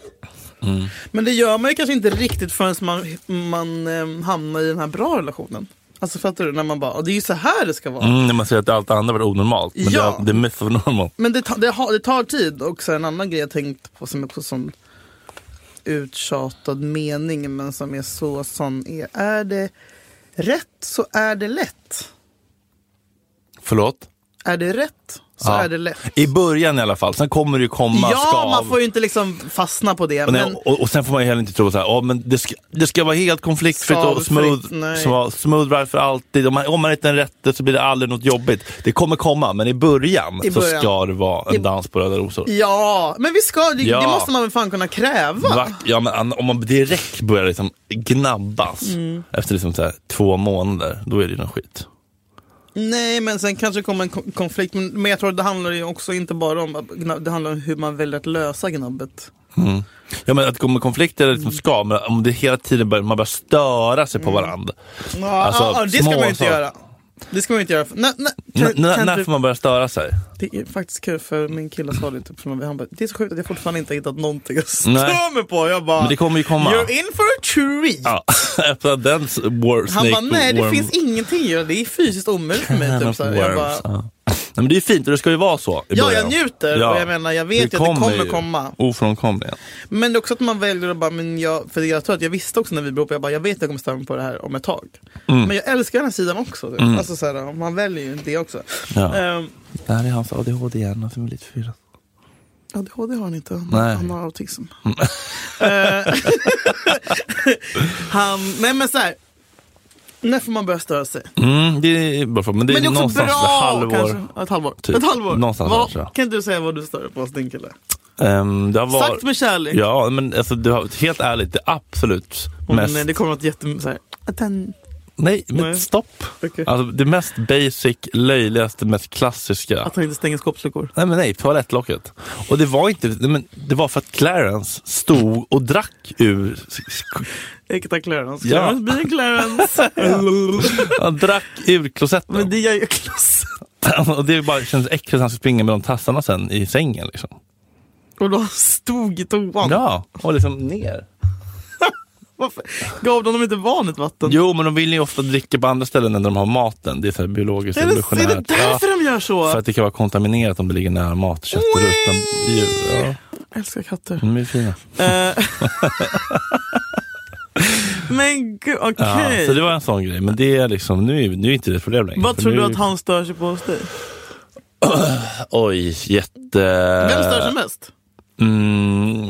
C: Men det gör man ju kanske inte riktigt förrän man, man eh, hamnar i den här bra relationen. Alltså fattar du? När man bara, "Ah, det är ju så här det ska vara.
B: Mm, när man säger att allt annat var onormalt. Men
C: Ja.
B: det, det är myth of normal.
C: Men det, ta- det, har- det tar tid. Och så en annan grej jag tänkt på som är på sån uttjatad mening men som är så sån är. Är det rätt så är det lätt.
B: Förlåt?
C: Är det rätt så
B: Ja.
C: är det lätt.
B: I början i alla fall. Sen kommer det ju komma
C: ja,
B: skav.
C: man får ju inte liksom fastna på det.
B: Och, nej,
C: men...
B: och, och sen får man ju heller inte tro så här, "Ja, men det, ska, det ska vara helt konfliktfritt och
C: Skalfritt,
B: smooth,
C: nej.
B: så, smooth ride för alltid. Om man, om man hittar en rätte så blir det aldrig något jobbigt. Det kommer komma, men i början,
C: I
B: så
C: början.
B: ska det vara en
C: I-
B: dans på röda rosor.
C: Ja, men vi ska, det,
B: Ja.
C: det måste man väl fan kunna kräva.
B: Vack, ja, men an- om man direkt börjar liksom gnabbas
C: Mm.
B: efter liksom så här, två månader, då är det ju någon skit.
C: Nej, men sen kanske kommer en ko- konflikt. Men, men jag tror att det handlar ju också inte bara om att gna- det handlar om hur man väljer att lösa gnabbet.
B: Ja, men att det kommer konflikter är
C: Mm.
B: liksom ska, men om det hela tiden börjar, man börjar störa sig på varandra.
C: Ja,
B: Alltså,
C: ja, ja, det ska
B: små
C: man ju inte
B: saker.
C: göra. Det ska man ju inte göra. Nej, nej,
B: N-
C: kan,
B: n-
C: kan
B: när
C: du-
B: får man börja störa sig?
C: Det är faktiskt kul för min kille sa det typ som han bara, det är så sjukt att jag fortfarande inte har hittat någonting att
B: Nej.
C: störa mig på. Jag bara,
B: Men det kommer ju komma.
C: you're in for a treat.
B: Ja, öppna den s- war,
C: Han
B: snake
C: bara, nej det
B: worm.
C: finns ingenting att göra, det är fysiskt omöjligt för mig. Typ, så här. jag bara,
B: Worms, ja. Nej, men det är ju fint och det ska ju vara så. i
C: Ja,
B: början.
C: jag njuter. Och jag menar, jag vet ju att det kommer
B: ju.
C: komma.
B: Ofrånkomligen.
C: Men också att man väljer att bara, men jag, för jag tror att jag visste också när vi blev ihop, jag bara, jag vet att jag kommer störa mig på det här om ett tag.
B: Mm.
C: Men jag älskar den här sidan också. Typ. Alltså, så här, man väljer ju det också.
B: Ja.
C: Ehm,
B: Det här är hans ADHD hjärna som är lite förvirrad.
C: ADHD har han inte, han,
B: Nej. Mm.
C: han har autism. Eh, han, nej men så här, när får man börja störa sig?
B: Mm, det är bra fråga, men det är,
C: men det är också
B: någonstans ett
C: bra
B: halvår.
C: kanske. Ja, Ett halvår.
B: typ.
C: Ett halvår.
B: Någonstans där,
C: vad,
B: tror jag.
C: Kan du säga vad du stör dig på hos din kille?
B: Ehm, det har varit-
C: Sagt med kärlek.
B: Ja, men alltså, du har, helt ärligt, det absolut
C: Åh,
B: mest...
C: Nej, det kommer något jätte... Så här, att han-
B: Nej, men
C: Nej.
B: stopp.
C: Okej.
B: Alltså, det mest basic, löjligaste, mest klassiska.
C: Att han inte stänger skåpsluckor.
B: Nej men nej, toalettlocket. Och det var inte, nej, men det var för att Clarence stod och drack ur,
C: Äkta clearance.
B: Ja.
C: Clearance blir en clearance.
B: han drack ur klosetten.
C: Men det gör ju klossen.
B: och det bara känns äckligt att han ska springa med de tassarna sen i sängen liksom.
C: Och då han stod i toan.
B: Ja, och liksom ner.
C: Varför? Gav de dem inte vanligt vatten?
B: Jo, men de vill ju ofta dricka på andra ställen än där de har maten. Det är så här biologiskt
C: är, det, är det
B: evolutionärt. Ja,
C: därför de gör så?
B: för att det kan vara kontaminerat om det ligger nära mat, kött och utan djur. Ja,
C: Jag älskar katter.
B: de är fina.
C: Eh. Men gud, okej.
B: Ja, Så det var en sån grej. Men det är liksom, nu, är- nu är inte det ett problem längre.
C: Vad
B: För
C: tror
B: nu,
C: du att han stör sig på hos dig?
B: Oj, jätte... Eh,
C: Vem stör sig mest?
B: Mm,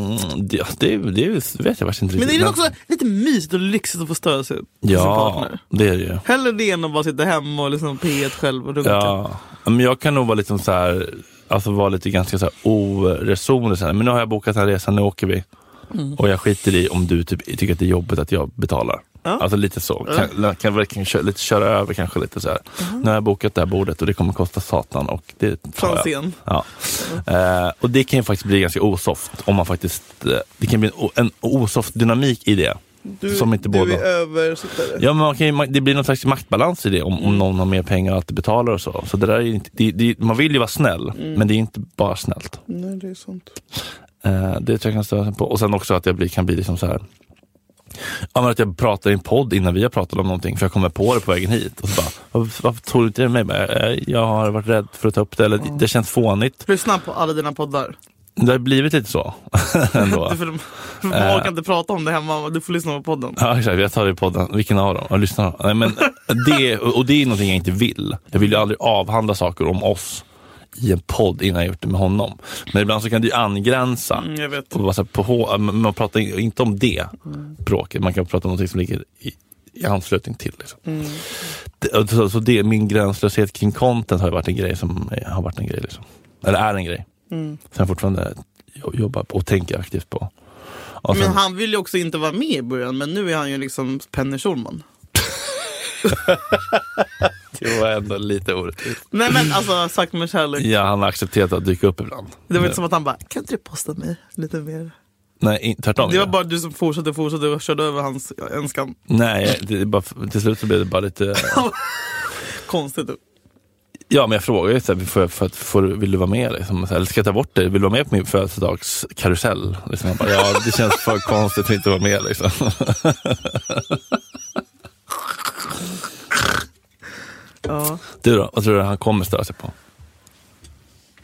B: det, det, det vet jag faktiskt inte
C: Men
B: riktigt.
C: är det också lite mysigt och lyxigt att få störa sig på sin
B: Ja,
C: partner?
B: det är det ju.
C: Hellre det än att bara sitta hemma och lyssna på P1 själv och runka.
B: Ja. Men jag kan nog vara lite så här, alltså vara lite ganska så här oresonlig. Så här. Men nu har jag bokat den här resan, nu åker vi.
C: Mm.
B: Och jag skiter i om du typ, tycker att det är jobbigt att jag betalar. Alltså lite så. Kan, kan verkligen köra, lite, köra över kanske lite så här.
C: Mm.
B: Nu har jag bokat det här bordet och det kommer kosta satan och det tar jag.
C: Franzén.
B: Ja. Eh, och det kan ju faktiskt bli ganska osoft om man faktiskt, eh, det kan bli en, o- en osoft dynamik i det.
C: Du,
B: som inte
C: du
B: båda.
C: är översittare.
B: Ja, men man kan ju, det blir någon slags maktbalans i det om, om någon har mer pengar att betala och så. Så det där är ju inte, det, det, man vill ju vara snäll,
C: Mm.
B: men det är inte bara snällt.
C: Nej, det är sant.
B: Eh, det tror jag kan störa sig på. Och sen också att jag blir, kan bli liksom så här. Ja, men att jag pratar i en podd innan vi har pratat om någonting för jag kommer på det på vägen hit. Och så bara, varför, varför tror du inte det med mig? Jag bara, "Eh, Jag har varit rädd för att ta upp det eller det känns fånigt.
C: Lyssna på alla dina poddar.
B: Det har blivit lite så. ändå.
C: För de, för
B: Eh.
C: man orkar inte prata om det hemma, du får lyssna på podden.
B: Ja exakt, jag tar det i podden. Vilken av dem? Jag lyssnar. Nej, men det, och det är någonting jag inte vill. Jag vill ju aldrig avhandla saker om oss i en podd innan jag gjort det med honom. Men ibland så kan det ju angränsa.
C: Mm, jag vet.
B: Och vara så här på, hå- men man pratar in- inte om det bråket, man kan prata om någonting som ligger i, i anslutning till. Liksom.
C: Mm.
B: Det, alltså, så, så det, min gränslöshet kring content har ju varit en grej som eh, har varit en grej. Liksom. Eller är en grej.
C: Mm.
B: Sen fortfarande jo- jobbar på och tänker aktivt på. Och sen-
C: Men han ville ju också inte vara med i början, men nu är han ju liksom Penny Schulman.
B: Det var ändå lite orättvist.
C: Nej men alltså, sagt med kärlek.
B: Ja, han har accepterat att dyka upp ibland.
C: Det var inte som att han bara, kan inte du posta mig lite mer?
B: Nej, in, tvärtom.
C: Det var
B: ja.
C: bara du som fortsatte fortsatte och körde över hans önskan.
B: Nej, det, är bara, till slut så blev det bara lite...
C: Konstigt.
B: Ja, men jag frågade ju så här, får jag, för att, får, du- vill du vara med? Liksom, så här, eller ska jag ta bort dig? Vill du vara med på min födelsedagskarusell? Liksom, jag bara, ja, det känns för konstigt att inte vara med. Liksom.
C: Ja.
B: Du då? Vad tror du han kommer störa sig på?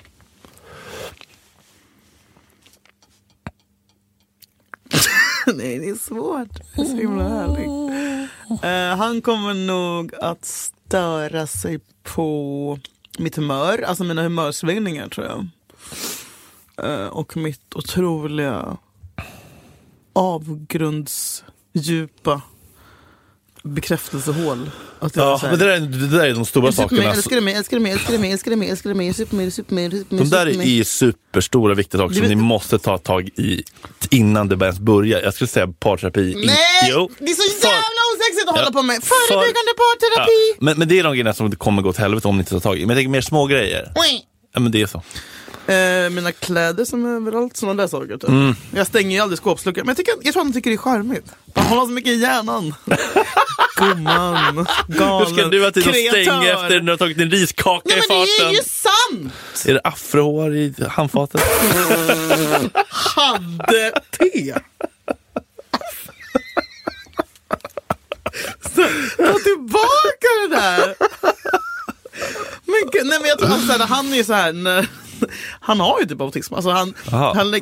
C: Nej, det är svårt. Det är så himla härligt. Eh, han kommer nog att störa sig på mitt humör, alltså mina humörsvängningar tror jag. Eh, och mitt otroliga avgrundsdjupa bekräftelsehål. Att jag
B: Ja,
C: så här-
B: men det där, är- det där är de stora
C: Jag super mig,
B: sakerna.
C: älskar mig, älskar mig, älskar mig, älskar mig, älskar mig, super mig, super mig, super mig,
B: De där
C: super mig.
B: är superstora viktiga saker
C: Du
B: som
C: vet-
B: ni måste ta tag i innan det ens börjar. Jag skulle säga parterapi. In-
C: Nej!
B: Jo.
C: Det är så
B: För-
C: jävla osexigt att
B: Ja.
C: hålla på med.
B: För-
C: Förebyggande parterapi!
B: Ja. Men, men det är de grejerna som kommer gå åt helvete om ni inte tar tag i. Men jag tänker mer små grejer.
C: Oj.
B: Ja, men det är så.
C: Eh, mina kläder som är överallt, sådana där saker. Typ.
B: Mm.
C: Jag stänger ju aldrig skåpsluckan. Men jag, tycker, jag tror att de tycker det är charmigt. Man har så mycket i hjärnan. Gumman,
B: Hur
C: galen,
B: ska du ha tid att stänga
C: kreatör.
B: efter när du har tagit din riskaka
C: Nej
B: i
C: men det är
B: farten?
C: ju sant!
B: Är det afrohår i handfatet?
C: Hade te. Så, Ta tillbaka det där! Men, gud, nej men jag tror att så här, han är ju så här, när, han har ju typ autism. Alltså han,
B: Aha.
C: han lä-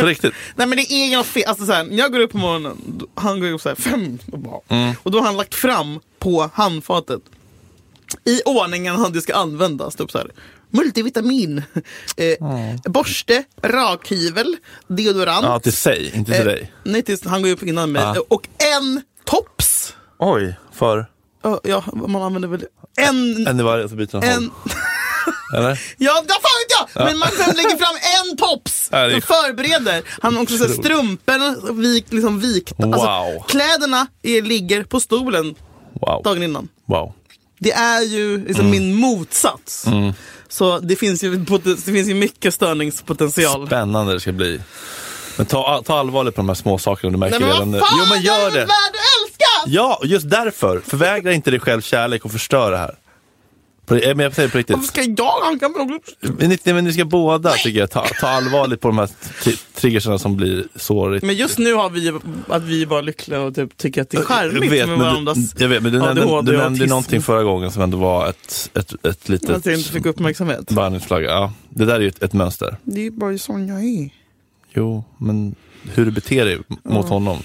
B: På riktigt?
C: Nej men det är ju något fel. Alltså, så här, när jag går upp på morgonen, då- han går upp så här fem och, bara,
B: Mm.
C: och då har han lagt fram på handfatet i ordningen han det ska användas. Typ så här, multivitamin, eh, borste, rakhyvel, deodorant.
B: Mm. Ja, till sig, inte till
C: Eh,
B: dig.
C: Nej, tills han går upp innan mig.
B: Ja.
C: Och en tops.
B: Oj, för?
C: Ja, ja, man använder väl en...
B: En i varje så byter han
C: en
B: håll. Eller?
C: ja, det fan vet jag! Men man sen lägger fram en tops
B: Ja, det är-
C: och förbereder. Han har också så här strumporna vik, liksom vikta.
B: Wow.
C: kläderna är, ligger på stolen dagen
B: Wow.
C: innan.
B: wow.
C: Det är ju liksom
B: Mm.
C: min motsats. Så det finns, ju, poten- det finns ju mycket störningspotential.
B: Spännande det ska bli. Men ta, ta allvarligt på de här små sakerna du märker
C: Nej men
B: redan nu.
C: vad fan,
B: Jo, men gör
C: det är
B: det!
C: väl värd att älska!
B: Ja, och just därför. Förvägra inte dig själv kärlek och förstör det här. På, eh, men jag säger på riktigt.
C: Varför ska jag? Han kan väl också...
B: Men ni- nej, men ni ska båda tycker jag, ta, ta allvarligt på de här t- triggerserna som blir sårigt.
C: Men just nu har vi att vi var lyckliga och typ tycker att det är charmigt
B: Jag vet,
C: med
B: men
C: varandras
B: du, jag vet, men du nämnde,
C: ADHD
B: du
C: och
B: nämnde
C: autism.
B: någonting förra gången som ändå var ett, ett, ett litet
C: Att jag inte fick uppmärksamhet.
B: varningsflagga. Ja, det där är ju ett, ett mönster.
C: Det är bara sån jag är.
B: Jo, men hur du beter dig mot honom.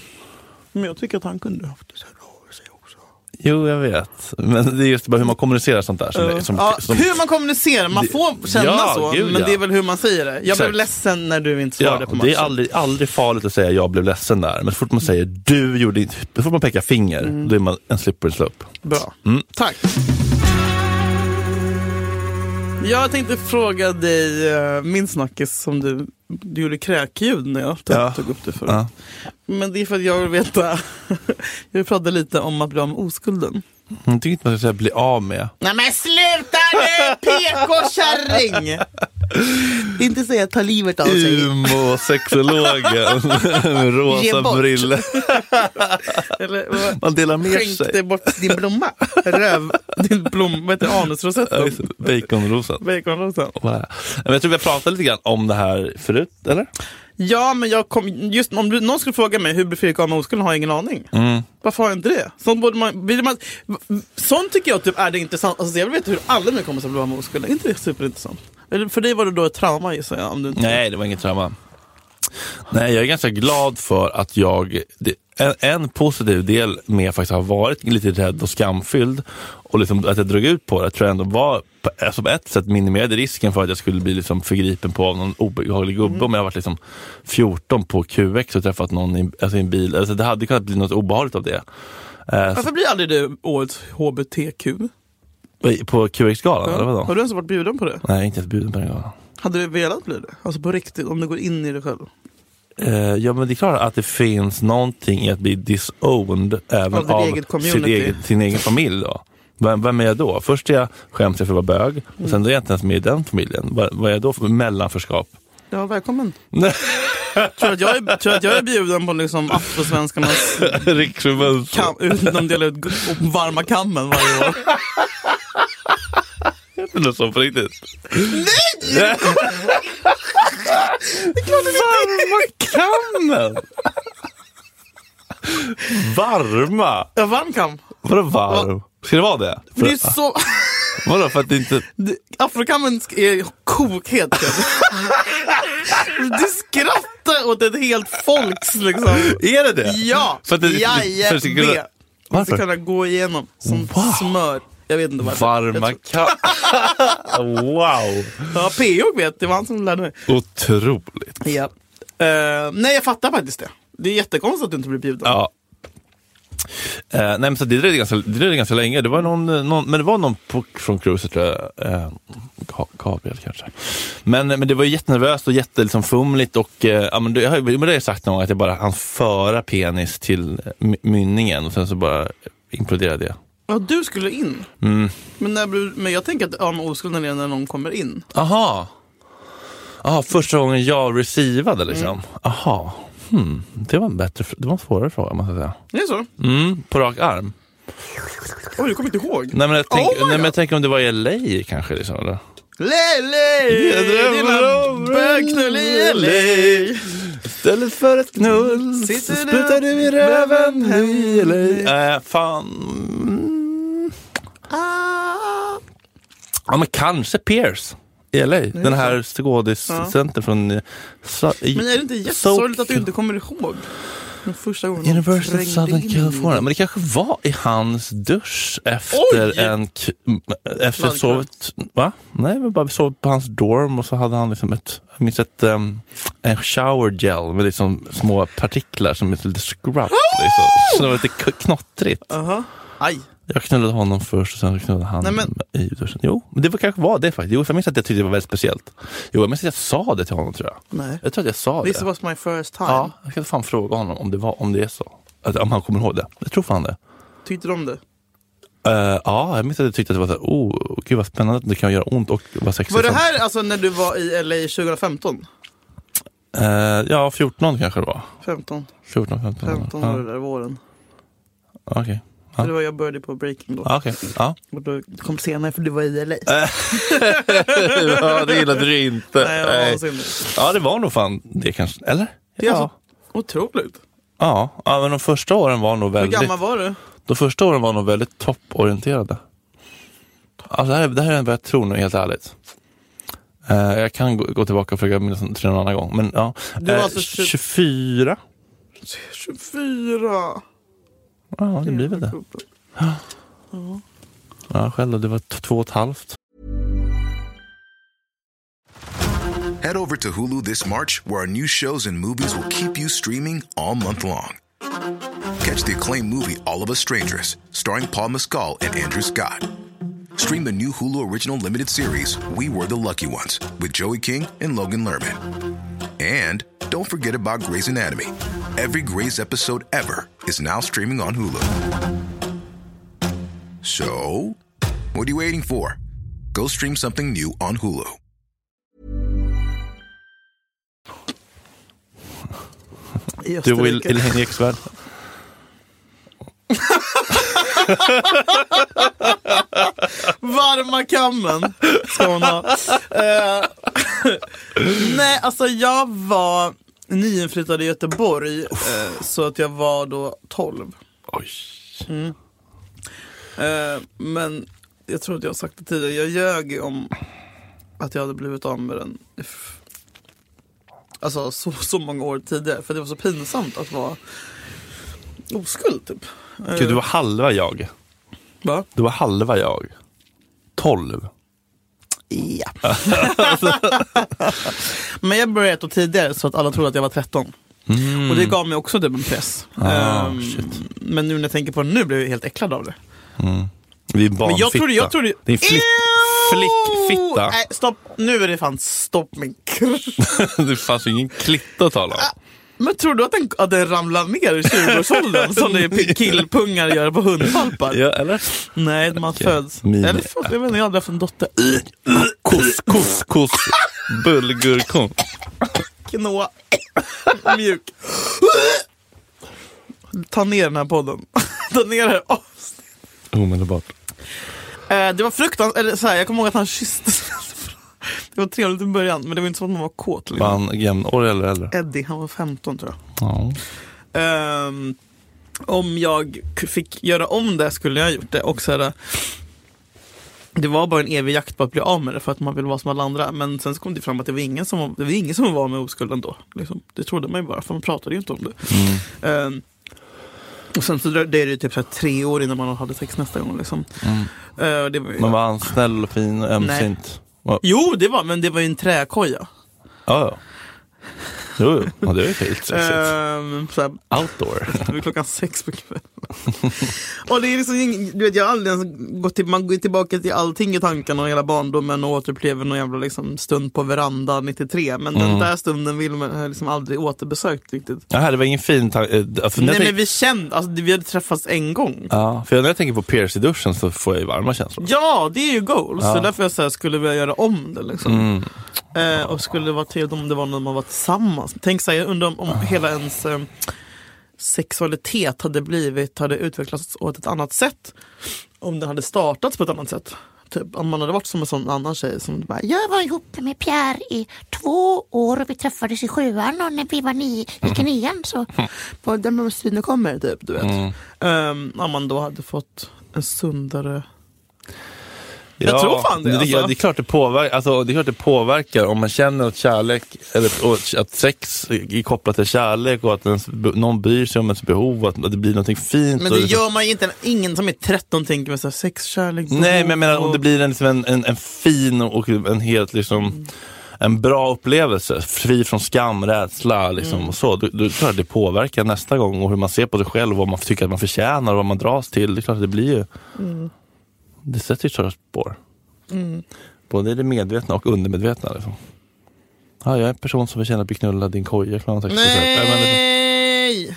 C: Men jag tycker att han kunde haft det så här av sig också.
B: Jo, jag vet. Men det är just bara hur man kommunicerar sånt där. Som, är- som,
C: ja,
B: som,
C: hur man kommunicerar, man
B: Det-
C: får känna
B: Ja,
C: så.
B: gud,
C: men
B: ja.
C: det är väl hur man säger det. Jag blev
B: Exakt.
C: ledsen när du inte svarade
B: Ja,
C: på matchen.
B: det är aldrig, aldrig farligt att säga jag blev ledsen där. Men så fort man säger du gjorde inte, så fort man pekar finger,
C: Mm.
B: då är man en slippery slope.
C: Bra.
B: Mm.
C: Tack. Jag tänkte fråga dig, eh, min snackis som du, du gjorde kräkljud när jag tog,
B: Ja.
C: tog upp det förut.
B: Ja.
C: Men det är för att jag vill veta, jag vill prata lite om att bli av med oskulden.
B: Jag tycker inte man ska säga bli av med.
C: Nej men sluta nu PK-kärring! Inte säga ta livet av sig.
B: Umosexologen med
C: Ge
B: rosa
C: bort.
B: briller.
C: Eller, vad-
B: Man delar med
C: Skänk dig
B: sig.
C: bort din blomma. Röv, din blom, vad heter det?
B: Ja,
C: anusrosetten?
B: just det. Baconrosen.
C: Baconrosen.
B: Wow. Nej, men Jag tror vi har pratat lite grann om det här förut, eller?
C: Ja, men jag kom, just om du, någon skulle fråga mig hur blir Fredrik av med oskulden har jag ingen aning.
B: Mm.
C: Varför har jag inte det? Sånt, borde man, vill man, sånt tycker jag typ är det intressant. Alltså, jag vill veta hur alla mina kompisar blir av med oskulden. Är inte det superintressant? Eller för dig var det då ett trauma gissar jag. Om du inte...
B: Nej, det var inget trauma. Nej, jag är ganska glad för att jag... Det, en, en positiv del med att faktiskt ha varit lite rädd och skamfylld och liksom att jag drog ut på det tror jag ändå var på- alltså på ett sätt minimerade risken för att jag skulle bli liksom förgripen på av någon obehaglig
C: Mm.
B: gubbe om jag varit liksom 14 på QX och träffat någon i, alltså i en bil. Alltså det hade kunnat bli något obehagligt av det. Eh, så,
C: Varför blir aldrig du årets HBTQ?
B: på QX-galan, eller vadå?
C: Har du ens varit bjuden på det?
B: Nej, inte ens bjuden på den galan.
C: Hade du velat bli det? Alltså på riktigt, om du går in i det själv.
B: Eh, ja men det är klart att det finns någonting i att bli disowned även
C: Av
B: av,
C: din eget community.
B: sitt eget, sin egen familj. Då. Vem, vem är jag då? Först är jag, skäms jag för att vara bög
C: Mm.
B: och sen då är jag inte ens med i den familjen. Vad, vad är jag då för mellanförskap?
C: Ja, välkommen. Tror att jag är, tror att jag är bjuden på liksom afrosvenskarnas
B: Riksförbundet.
C: kam, de delar ut gu- varma kammen varje år.
B: heter något sånt på riktigt? Varmakammen! Varma?
C: Ja, varm kam.
B: Vadå varm? Ska det vara det?
C: Det är så...
B: Vadå för att det inte...
C: Det- Afrokammen sk- är kokhet. kan jag- Du skrattar åt ett helt folks liksom.
B: Är det det?
C: Ja,
B: För att det,
C: jajamän.
B: för att det ska kunna...
C: Det ska
B: Varför?
C: kunna gå igenom som
B: Wow.
C: smör. Jag vet inte
B: Alltså,
C: varför.
B: Varma kammen. wow!
C: Ja, PO vet, det var han som lärde mig.
B: Otroligt.
C: Ja. Eh, nej, jag fattar faktiskt det. Det är jättekonstigt att du inte blir bjuden.
B: Ja. Eh, nej, men så det dröjde ganska, det dröjde ganska länge. Det var någon, eh, någon, men det var någon på, från cruiset, tror jag. Eh, Ga- Gabriel kanske. Men, men det var ju jättenervöst och jätte, liksom, fumligt och eh, ja, men det, jag har ju men det har jag sagt någon gång att jag bara hann föra penis till eh, my- mynningen och sen så bara imploderade jag.
C: Ja, du skulle in.
B: Mm.
C: Men, när, du- men jag tänker att ja, men oskulden är när någon kommer in.
B: Aha. Aha, första gången jag receivade liksom. Aha. Hmm. Det var en bättre, fr- det var en svårare fråga måste jag säga.
C: Det är så?
B: Mm, på rak arm.
C: Oj, du kommer inte ihåg?
B: Nej men, jag tänk,
C: Oh my
B: nej, men
C: God.
B: jag tänker om det var i LA kanske. Liksom, eller?
C: Lele! Dina bögknull i LA.
B: Istället för ett knull
C: Sitter
B: så
C: du-
B: sprutar du i röven i LA. Äh, fan. Mm.
C: Ah.
B: Ja men kanske Pierce i LA. Den här skådiscentern från... eh, Sa- i-
C: Men är det inte jättesorgligt att du inte kommer ihåg? Den första gången de
B: University of
C: trängde
B: Southern
C: in.
B: California. Men det kanske var i hans dusch efter
C: Oj!
B: en... k- m- Efter
C: Badkar.
B: sovet... Va? Nej, men bara vi sov på hans dorm och så hade han liksom ett... Jag minns ett... ehm, en shower gel med liksom små partiklar som är lite scrub. Liksom. Så det var lite k- knottrigt.
C: Aha. Aj.
B: Jag knullade honom först och sen knullade han
C: Nej, men-
B: mig i duschen. Jo, men det var- kanske var det faktiskt. Jo, jag minns att jag tyckte det var väldigt speciellt. Jo, jag minns att jag sa det till honom tror jag.
C: Nej.
B: Jag tror att jag sa det.
C: This was my first time.
B: Ja, jag ska fan fråga honom om det, var, om det är så. Att, om han kommer ihåg det. Jag tror fan det.
C: Tyckte du om det?
B: Eh, ja, jag minns att jag tyckte att det var så här, oh, gud vad spännande att det kan göra ont och vara sexigt.
C: Var det här alltså när du var i LA 2015?
B: Eh, ja, 14 kanske det var.
C: 15,
B: 14, 15.
C: 15
B: ja.
C: var det där våren.
B: Okej.
C: För Det var jag började på Breaking då.
B: Ja, okej. Ja. Äh,
C: Och då det kom senare för du var i LA.
B: ja, det gillade du inte.
C: Nej, jag var vansinnig.
B: Ja, det var nog fan det kanske. Eller?
C: Det är alltså otroligt.
B: Ja, ja men de första åren var nog
C: Hur
B: väldigt...
C: gammal var du?
B: De första åren var nog väldigt topporienterade. Alltså det, här, är- det här är vad jag tror nu, helt ärligt. Eh, jag kan gå, gå tillbaka och försöka minnas till någon annan gång. Men, ja.
C: Du var
B: Eh,
C: alltså tjugo-
B: 24?
C: 24.
B: Ja, det blir väl det. Ja, själv då, det var t- två och ett halvt.
E: Head over to Hulu this March, where our new shows and movies will keep you streaming all month long. Catch the acclaimed movie All of Us Strangers, starring Paul Mescal and Andrew Scott. Stream the new Hulu original limited series We Were the Lucky Ones with Joey King and Logan Lerman. And don't forget about Grey's Anatomy. Every Grey's episode ever is now streaming on Hulu. So, what are you waiting for? Go stream something new on Hulu.
C: I
B: Du och Il-
C: Österrike.
B: Elaine Eksvärd.
C: Varma kammen ska hon ha. Eh, nej, alltså jag var nyinflyttad i Göteborg eh, så att jag var då 12.
B: Oj.
C: Eh, men jag tror att jag har sagt det tidigare, jag ljög om att jag hade blivit av med den. f- Alltså så, så många år tidigare, för det var så pinsamt att vara oskuld typ.
B: Gud, du var halva jag.
C: Va?
B: Du var halva jag. Tolv.
C: Ja. Men jag började ett år tidigare så att alla trodde att jag var 13. Och det gav mig också typ en press.
B: Mm. Ah,
C: Ehm,
B: shit.
C: men nu när jag tänker på det nu blev jag helt äcklad av det.
B: Det är en
C: Men jag
B: barnfitta.
C: trodde... Jag trodde
B: Det är en flick,
C: Ew!
B: flickfitta.
C: Nej, stopp. Nu är det fan stopp min krusch.
B: det fanns ju ingen klitta att tala om.
C: Men tror du att den, att den ramlar ner i 20-årsåldern som det är killpungar gör på hundvalpar?
B: Ja, eller?
C: Nej, man föds.
B: Min-
C: Eller förlåt, jag vet inte, jag har aldrig haft en dotter.
B: Couscous, bulgurkorn.
C: Knå. Mjuk. Ta ner den här podden. Ta ner det här avsnittet.
B: Omedelbart.
C: Oh. Eh, det var fruktansvärt, eller så här, jag kommer ihåg att han kysstes. det var trevligt i början, men det var inte som att man var kåt. Liksom.
B: Var han jämnårig eller äldre?
C: Eddie, han var 15 tror jag.
B: Ja.
C: Ehm, om jag k- fick göra om det skulle jag ha gjort det. Och så här, det var bara en evig jakt på att bli av med det för att man vill vara som alla andra. Men sen så kom det fram att det var ingen som, det var, ingen som var med oskulden då. Liksom. Det trodde man ju bara, för man pratade ju inte om det. Ehm, och sen så drö- det är det ju typ så här tre år innan man hade sex nästa gång. Liksom. Ehm, det var, ju-
B: Men var han snäll och fin och ömsint? Ja,
C: Jo, det var, men det var ju en träkoja.
B: ja. Jo, jo. Ja, det var ju fint. sexigt.
C: Ehm, så här,
B: Outdoor.
C: Det är klockan sex på kvällen. och det är liksom, ing- du vet, jag har aldrig ens gått till, man går ju tillbaka till allting i tankarna och hela barndomen och återupplever någon jävla liksom, stund på veranda 93. Men
B: Mm.
C: den där stunden vill man, har jag liksom aldrig återbesökt riktigt.
B: Jaha, det var ingen fin tanke. eh, För, när
C: Nej
B: jag tänk-
C: men vi kände, alltså det- vi hade träffats en gång.
B: ja, för när jag tänker på Pierce i duschen så får jag ju varma känslor.
C: Ja, det är ju goals. Så därför jag så här, skulle vilja göra om det liksom.
B: Mm.
C: Eh, och skulle det vara trevligt om det var när man var tillsammans. Tänk så här, jag undrar om, om hela ens eh, sexualitet hade blivit, hade utvecklats åt ett annat sätt. Om den hade startats på ett annat sätt. Typ om man hade varit som en sån annan tjej som bara
G: Jag var ihop med Pierre i två år och vi träffades i sjuan och när vi var nio, gick i nian så
C: på den med synen kommer typ, du vet.
B: Mm.
C: Eh, om man då hade fått en sundare Jag tror fan det,
B: Det,
C: alltså.
B: ja, det, är klart det påverkar, alltså, det är klart det påverkar om man känner att kärlek, eller och att sex är kopplat till kärlek och att ens, någon bryr sig om ens behov och att att det blir någonting fint.
C: Men
B: och
C: det
B: liksom-
C: gör man ju inte, ingen som är 13 tänker med så här, sex, kärlek,
B: Nej, men jag menar
C: behov
B: om
C: och-
B: det blir en, liksom en, en, en fin och en helt liksom en bra upplevelse, fri från skam, rädsla liksom, och så. Då, då tror jag det påverkar nästa gång och hur man ser på sig själv och vad man tycker att man förtjänar och vad man dras till. Det är klart att det blir ju... Det sätter ju sådana spår. Både i det medvetna och undermedvetna. Liksom. Ja, jag är en person som förtjänar att bli knullad i en koja klockan sex på kvällen. Ja, men liksom,
C: Nej!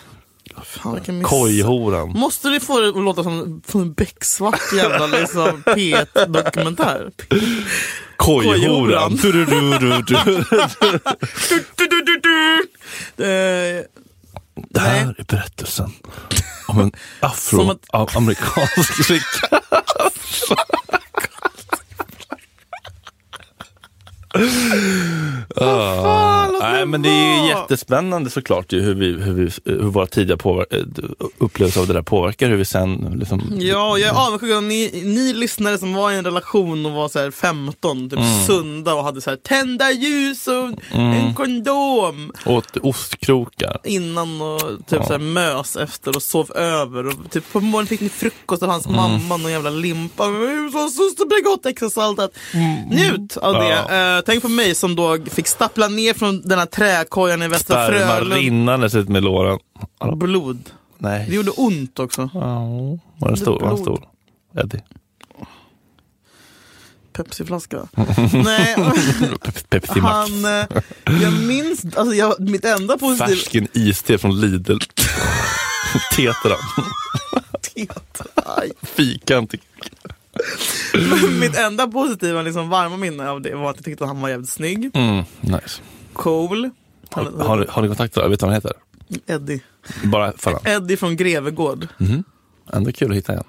C: Fan, vilken miss.
B: Kojhoran.
C: Måste du få det att låta som som en becksvart jävla liksom, P1-dokumentär?
B: Kojhoran. Du-du-du-du-du.
C: Du, du, du, du, du. Eh,
B: Det här
C: Nej.
B: är berättelsen om en
C: Som
B: afroamerikansk flicka.
C: fan,
B: Ah.
C: låt
B: Nej
C: mig
B: men det är ju
C: vara.
B: jättespännande såklart ju hur, vi, hur, vi, hur våra tidiga påver- eh, upplevelser av det där påverkar hur vi sen liksom...
C: Ja, jag är avundsjuk att ni, ni lyssnare som var i en relation och var så här 15, typ sunda och hade så här tända ljus och en kondom
B: Åt ostkrokar.
C: innan och typ så här mös efter och sov över. Och typ på morgonen fick ni frukost av hans
B: Mm.
C: mamma och jävla limpa. Hushållssyster, Bregott, extrasaltat.
B: Mm.
C: Njut av det. Eh, tänk på mig som då fick stappla ner från den här träkojan i Västra
B: Sperma
C: Frölunda.
B: rinnandes ut med låren. Hallå?
C: Blod. Det
B: Nej.
C: gjorde ont också.
B: Ja, Var den stor? Var den stor? Eddie.
C: Pepsiflaska. Nej,
B: Pe- Pepsi Max.
C: han... eh, Jag minns... Alltså jag, mitt enda positiva...
B: Färsken iste från Lidl. Tetran.
C: Aj.
B: Fikan. till-
C: mitt enda positiva liksom varma minne av det var att jag tyckte att han var jävligt snygg.
B: Mm, nice.
C: Cool. Han-
B: Har, du- har ni kontakter? Vet du vad han heter?
C: Eddie.
B: Bara för han.
C: Eddie från Grevegård.
B: Ändå kul att hitta en.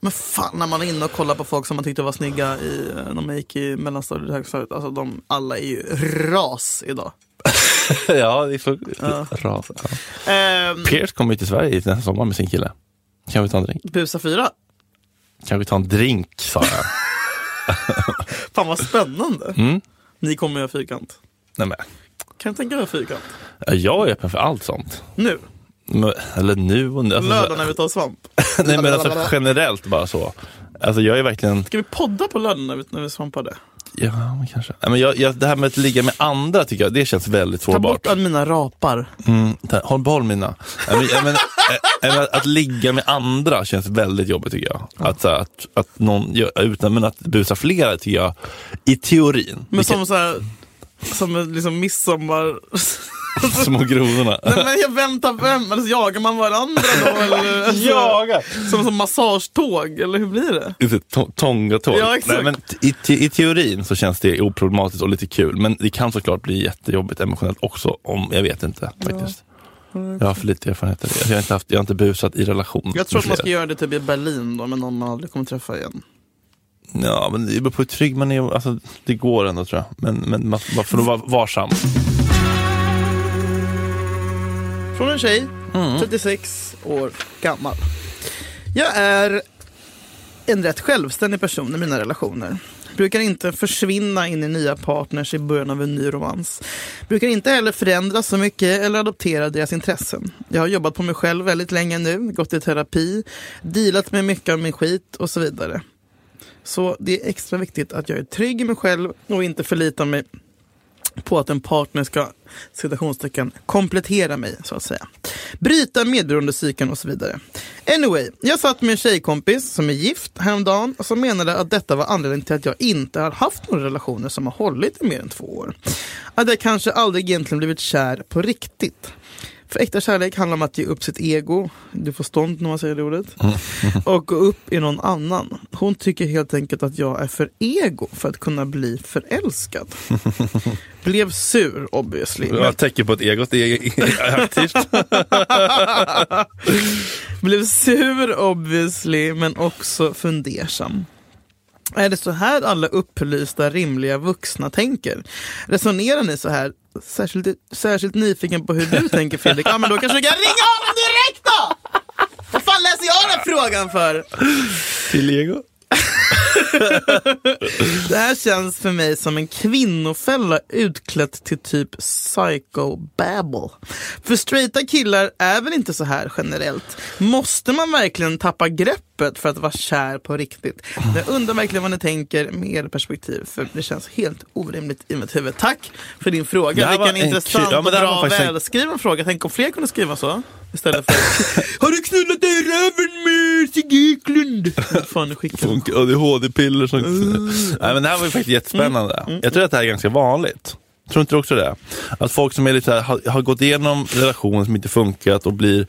C: Men fan när man är inne och kollar på folk som man tyckte var snygga i, eh, när man gick i mellanstadiet och högstadiet. Alltså de alla är ju ras idag.
B: ja, det är så... Ras. Ja.
C: Ehm,
B: Pierce kommer ju till Sverige nästa sommar med sin kille. Kan vi ta en drink?
C: Busa 4.
B: Kan vi ta en drink, sa jag.
C: Fan vad spännande. Ni kommer göra fyrkant.
B: Nej, men.
C: Kan du tänka dig att göra fyrkant?
B: ja, Jag är öppen för allt sånt.
C: Nu,
B: Men- Eller nu och nu. Alltså,
C: lördag när vi tar svamp.
B: Nej, men alltså generellt bara så. Alltså jag är verkligen...
C: Ska vi podda på lördag när vi, när vi svampar det?
B: Ja, men kanske. Nej, men jag, jag, det här med att ligga med andra tycker jag, det känns väldigt
C: Ta
B: sårbart.
C: bort alla mina rapar.
B: Mm, Ta- Håll behåll mina. Nej, men- nej, men, eh, eh, att- Att ligga med andra känns väldigt jobbigt tycker jag. Att, så här, att, att någon gör, utan, men att busa flera tycker jag, i teorin.
C: Men
B: Vilka-
C: som så här, som en liksom midsommar...
B: små gronorna.
C: Nej men jag väntar vem? Alltså, jagar man varandra då? Eller, alltså, Som som massagetåg, eller hur blir det?
B: Just det, to- Tongatåg.
C: Ja, exakt.
B: Nej, men t- i, te- I teorin så känns det oproblematiskt och lite kul. Men det kan såklart bli jättejobbigt emotionellt också. om Jag vet inte faktiskt. Jag har för lite erfarenhet av det. Alltså, Jag har inte, haft, jag har inte busat i relation.
C: Jag tror
B: med
C: att
B: fler.
C: man ska göra det typ i Berlin då, med någon man aldrig kommer träffa igen.
B: Ja, men det beror på hur trygg man är. Alltså, det går ändå tror jag. Men, men man man får nog vara varsam.
C: Från en tjej, 36 år gammal. Jag är en rätt självständig person i mina relationer. Brukar inte försvinna in i nya partners i början av en ny romans. Brukar inte heller förändras så mycket eller adoptera deras intressen. Jag har jobbat på mig själv väldigt länge nu, gått i terapi, dealat med mycket av min skit och så vidare. Så det är extra viktigt att jag är trygg i mig själv och inte förlitar mig på att en partner ska citationstecken komplettera mig så att säga. Bryta medberoendecykeln och så vidare. Anyway, jag satt med en tjejkompis som är gift häromdagen och som menade att detta var anledningen till att jag inte har haft några relationer som har hållit i mer än två år. Att jag kanske aldrig egentligen blivit kär på riktigt. För äkta kärlek handlar om att ge upp sitt ego, du får stånd när man säger det ordet, och gå upp i någon annan. Hon tycker helt enkelt att jag är för ego för att kunna bli förälskad. Blev sur obviously. Men
B: Jag täcker på att egot är aktivt.
C: blev sur obviously men också fundersam. Är det så här alla upplysta rimliga vuxna tänker? Resonerar ni så här? Särskilt, särskilt nyfiken på hur du tänker Fredrik. Ja men då kanske du kan ringa honom direkt då! Vad fan läser jag den här frågan för?
B: Till ego.
C: Det här känns för mig som en kvinnofälla utklätt till typ psycho-babble. För straighta killar är väl inte så här generellt? Måste man verkligen tappa greppet för att vara kär på riktigt? Jag undrar verkligen vad ni tänker med er perspektiv, för det känns helt orimligt i mitt huvud. Tack för din
B: Det
C: fråga.
B: här var
C: Vilken
B: en
C: intressant
B: kul- ja,
C: och
B: men det här
C: bra
B: var faktiskt en-
C: välskriven fråga. Tänk om fler kunde skriva så. Istället för Har du knullat dig i röven med Sigge Eklund? Vad Fan, skicka.
B: Funk- ADHD-piller som... Nej, men det här var ju faktiskt jättespännande. Jag tror att det här är ganska vanligt. Tror inte du också det? Att folk som är lite så här, har, har gått igenom relationer som inte funkat och blir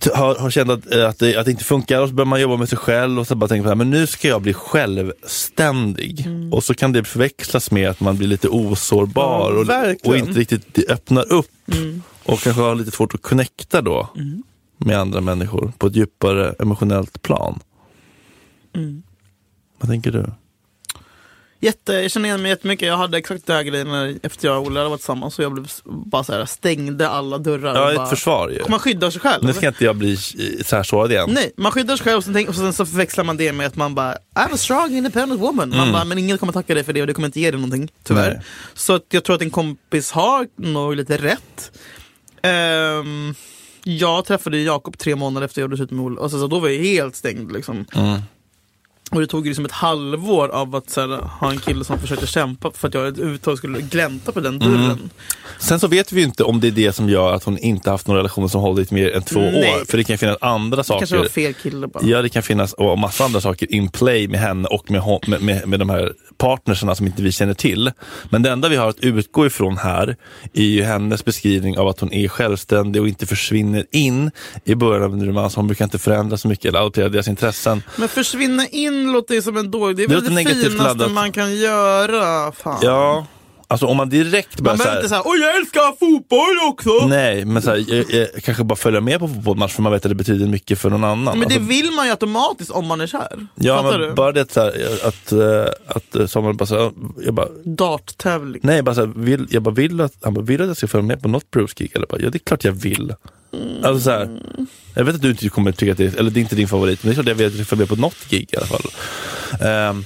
B: t- har, har känt att, eh, att, det, att det inte funkar och så börjar man jobba med sig själv och så bara tänker man så här, men nu ska jag bli självständig. Och så kan det förväxlas med att man blir lite osårbar
C: Mm. Ja,
B: och,
C: verkligen. Mm.
B: och inte riktigt det öppnar upp. Och kanske har lite svårt att connecta då med andra människor på ett djupare emotionellt plan.
C: Mm.
B: Vad tänker du?
C: Jätte, jag känner igen mig jättemycket. Jag hade exakt den här grejen när, efter jag och Olle hade varit tillsammans. Så jag blev s- bara så här, stängde alla dörrar.
B: Ja,
C: och
B: ett
C: bara,
B: försvar ju.
C: Och man skyddar sig själv.
B: Nu ska inte jag bli eh, så här sårad igen.
C: Nej, man skyddar sig själv och sen, tänk, och sen så förväxlar man det med att man bara I'm a strong independent woman. Man bara, men ingen kommer tacka dig för det och det kommer inte ge dig någonting. Tyvärr.
B: Nej.
C: Så att jag tror att en kompis har nog lite rätt. Ehm, jag träffade ju Jakob tre månader efter jag gjorde slut med Olle. Och så, så då var jag helt stängd liksom. Och det tog ju liksom ett halvår av att så här, ha en kille som försökte kämpa för att jag överhuvudtaget skulle glänta på den dörren.
B: Sen så vet vi ju inte om det är det som gör att hon inte haft någon relation som hållit mer än två
C: Nej.
B: år. För det kan ju finnas andra saker.
C: Kanske var fel kille bara.
B: Ja, det kan finnas och massa andra saker in play med henne och med, hon, med, med, med de här partnerserna som inte vi känner till. Men det enda vi har att utgå ifrån här är ju hennes beskrivning av att hon är självständig och inte försvinner in i början av en romans. Hon brukar inte förändra så mycket eller adoptera deras intressen.
C: Men försvinna in låter ju som en dålig... Det är
B: Det
C: väl
B: låter
C: det
B: negativt
C: finaste
B: laddat.
C: man kan göra. Fan.
B: Ja, alltså om man direkt börjar
C: man
B: så
C: behöver
B: här,
C: inte säga åh jag älskar fotboll också.
B: Nej, men så här, jag, jag kanske bara följa med på fotbollsmatch för man vet att det betyder mycket för någon annan.
C: Men det
B: Alltså,
C: vill man ju automatiskt om man är kär.
B: ja,
C: Fattar
B: men
C: du?
B: bara det så här, att, eh, att eh, Samuel bara, så här, jag bara
C: Darttävling.
B: Nej, bara så här, vill, jag bara vill att, han bara, vill du att jag ska följa med på något Bruce Gig? Eller bara, ja det är klart jag vill.
C: Mm.
B: Alltså så här, jag vet att du inte kommer tycka att det är, eller det är inte din favorit, men det är klart jag vill att du följer med på något gig i alla fall. Ehm,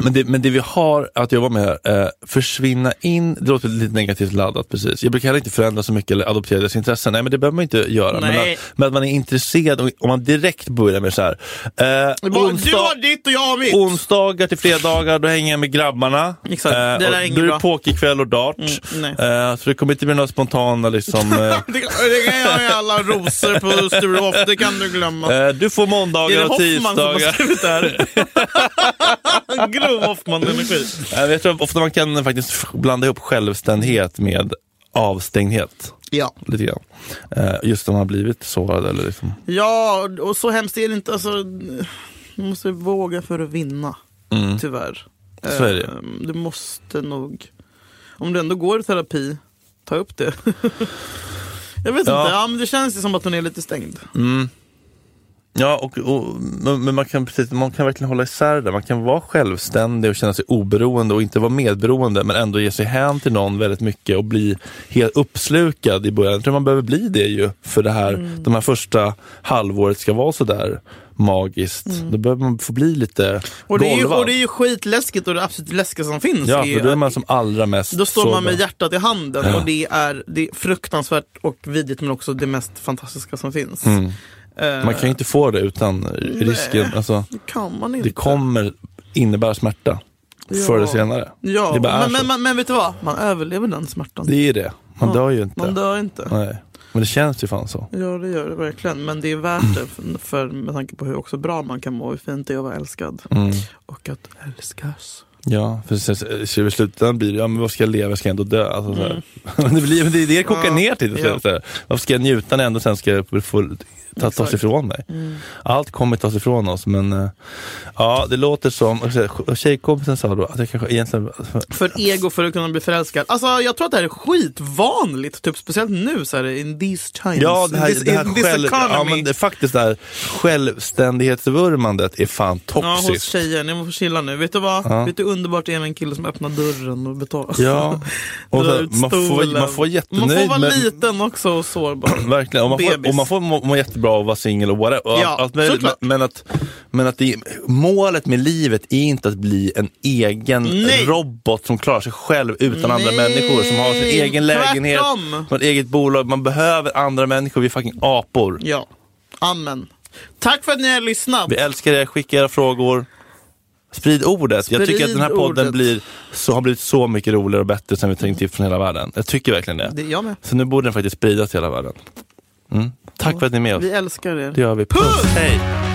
B: men, det, men det vi har att jobba med här, eh, försvinna in, det låter lite negativt laddat precis. Jag brukar heller inte förändra så mycket eller adoptera deras intressen. Nej men det behöver man inte göra. Men
C: Nej.
B: att, men att man är intresserad och om man direkt börjar med så här. Eh,
C: Bara,
B: onsdag-
C: Du har ditt och jag har mitt.
B: Onsdagar till fredagar, då hänger jag med grabbarna. Eh,
C: Exakt, det där
B: och
C: är inget
B: då är
C: bra. Mm,
B: det pokerkväll och dart.
C: nej.
B: eh, så det kommer inte bli några spontana liksom. eh,
C: det, det kan jag ju alla rosor på Sturehof, det kan du glömma.
B: eh, du får
C: Är det
B: måndagar och
C: Hoffman som har
B: tisdagar.
C: skrivit det här? Grov Hoffman-energi.
B: Eh, jag tror ofta man kan faktiskt f- blanda ihop självständighet med avstängdhet.
C: Ja.
B: Lite grann. Eh, just om man har blivit sårad eller liksom.
C: ja, och så hemskt är det inte. Alltså, man måste våga för att vinna, tyvärr.
B: Mm, Så är det.
C: Eh, Du måste nog, om du ändå går i terapi, ta upp det.
B: Ja.
C: Jag vet
B: Mm.
C: inte, ja, men det känns ju som att hon är lite stängd.
B: Ja, och, och, men men man, kan, precis, man kan verkligen hålla isär det. Man kan vara självständig och känna sig oberoende och inte vara medberoende men ändå ge sig hän till någon väldigt mycket och bli helt uppslukad i början. Jag tror man behöver bli det ju för det här,
C: Mm.
B: de här första halvåret ska vara sådär magiskt. Då behöver man få bli lite
C: Mm. Och det, är ju,
B: golvad.
C: och det är ju skitläskigt och det absolut läskigaste som finns.
B: Ja,
C: är
B: för då är man som allra mest
C: Då står man
B: sårbar.
C: med hjärtat i handen
B: Ja.
C: och det är, det är fruktansvärt och vidrigt men också det mest fantastiska som finns.
B: Mm.
C: Eh,
B: Man kan ju inte få det utan risken. Alltså,
C: kan man inte.
B: det kommer innebära smärta förr eller senare.
C: Ja,
B: det bara är
C: men,
B: så.
C: men, men, men vet du vad? Man överlever den smärtan.
B: Det är det. Man
C: Ja,
B: dör ju inte.
C: Man dör inte.
B: Nej. Men det känns ju fan så.
C: Ja, det gör det verkligen. Men det är värt det för, för, med tanke på hur också bra man kan må och hur fint det är att vara älskad. Och att älskas.
B: Ja, för sen, så i slutändan blir det, ja men vad ska jag leva, ska jag ändå dö? Alltså, så här. det, blir, men det är det det kokar
C: Mm. Ja.
B: ner till.
C: Ja.
B: Så här. Varför ska jag njuta när jag ändå sen ska få ta, tas
C: Exakt. Mm.
B: ifrån mig? Allt kommer tas ifrån oss, men eh, ja, det låter som, och så här, och tjejkompisen sa då att jag kanske egentligen,
C: För ego för att kunna bli förälskad. Alltså jag tror att det här är skitvanligt. Typ speciellt nu så här in these times.
B: Ja, det här,
C: in this,
B: det här
C: in this
B: själv,
C: economy.
B: ja, men det, faktiskt det här självständighetsvurmandet är fan
C: Ja, hos
B: toxiskt.
C: tjejer. Ni får chilla nu. Vet du vad? Vet du hur underbart det är med en kille som öppnar dörren och betalar?
B: Ja, och
C: Drar
B: så,
C: ut
B: man, får, man
C: stolen.
B: får
C: Man får
B: jättenöjd
C: vara
B: med,
C: liten också och sårbar.
B: Verkligen, och man, får,
C: Bebis.
B: och man får må, må jättebra och vara singel och whatever. Och
C: Ja,
B: allt möjligt.
C: såklart.
B: men, men att, men att det, målet med livet är inte att bli en egen
C: Nej.
B: robot som klarar sig själv utan andra
C: Nej,
B: människor, som har sin egen lägenhet,
C: tvärtom.
B: som har ett eget bolag. Man behöver andra människor, vi är fucking apor.
C: Ja. Amen. Tack för att ni har lyssnat.
B: Vi älskar er, skicka era frågor. Sprid ordet. jag tycker att den här
C: Sprid
B: podden
C: ordet.
B: blir, så, har blivit så mycket roligare och bättre sen vi trängt till från hela världen. Jag tycker verkligen det.
C: Det är jag med.
B: Så nu borde den faktiskt spridas till hela världen. Mm. Tack för att ni är med oss.
C: Vi älskar er.
B: Det gör vi. Puss! Hej!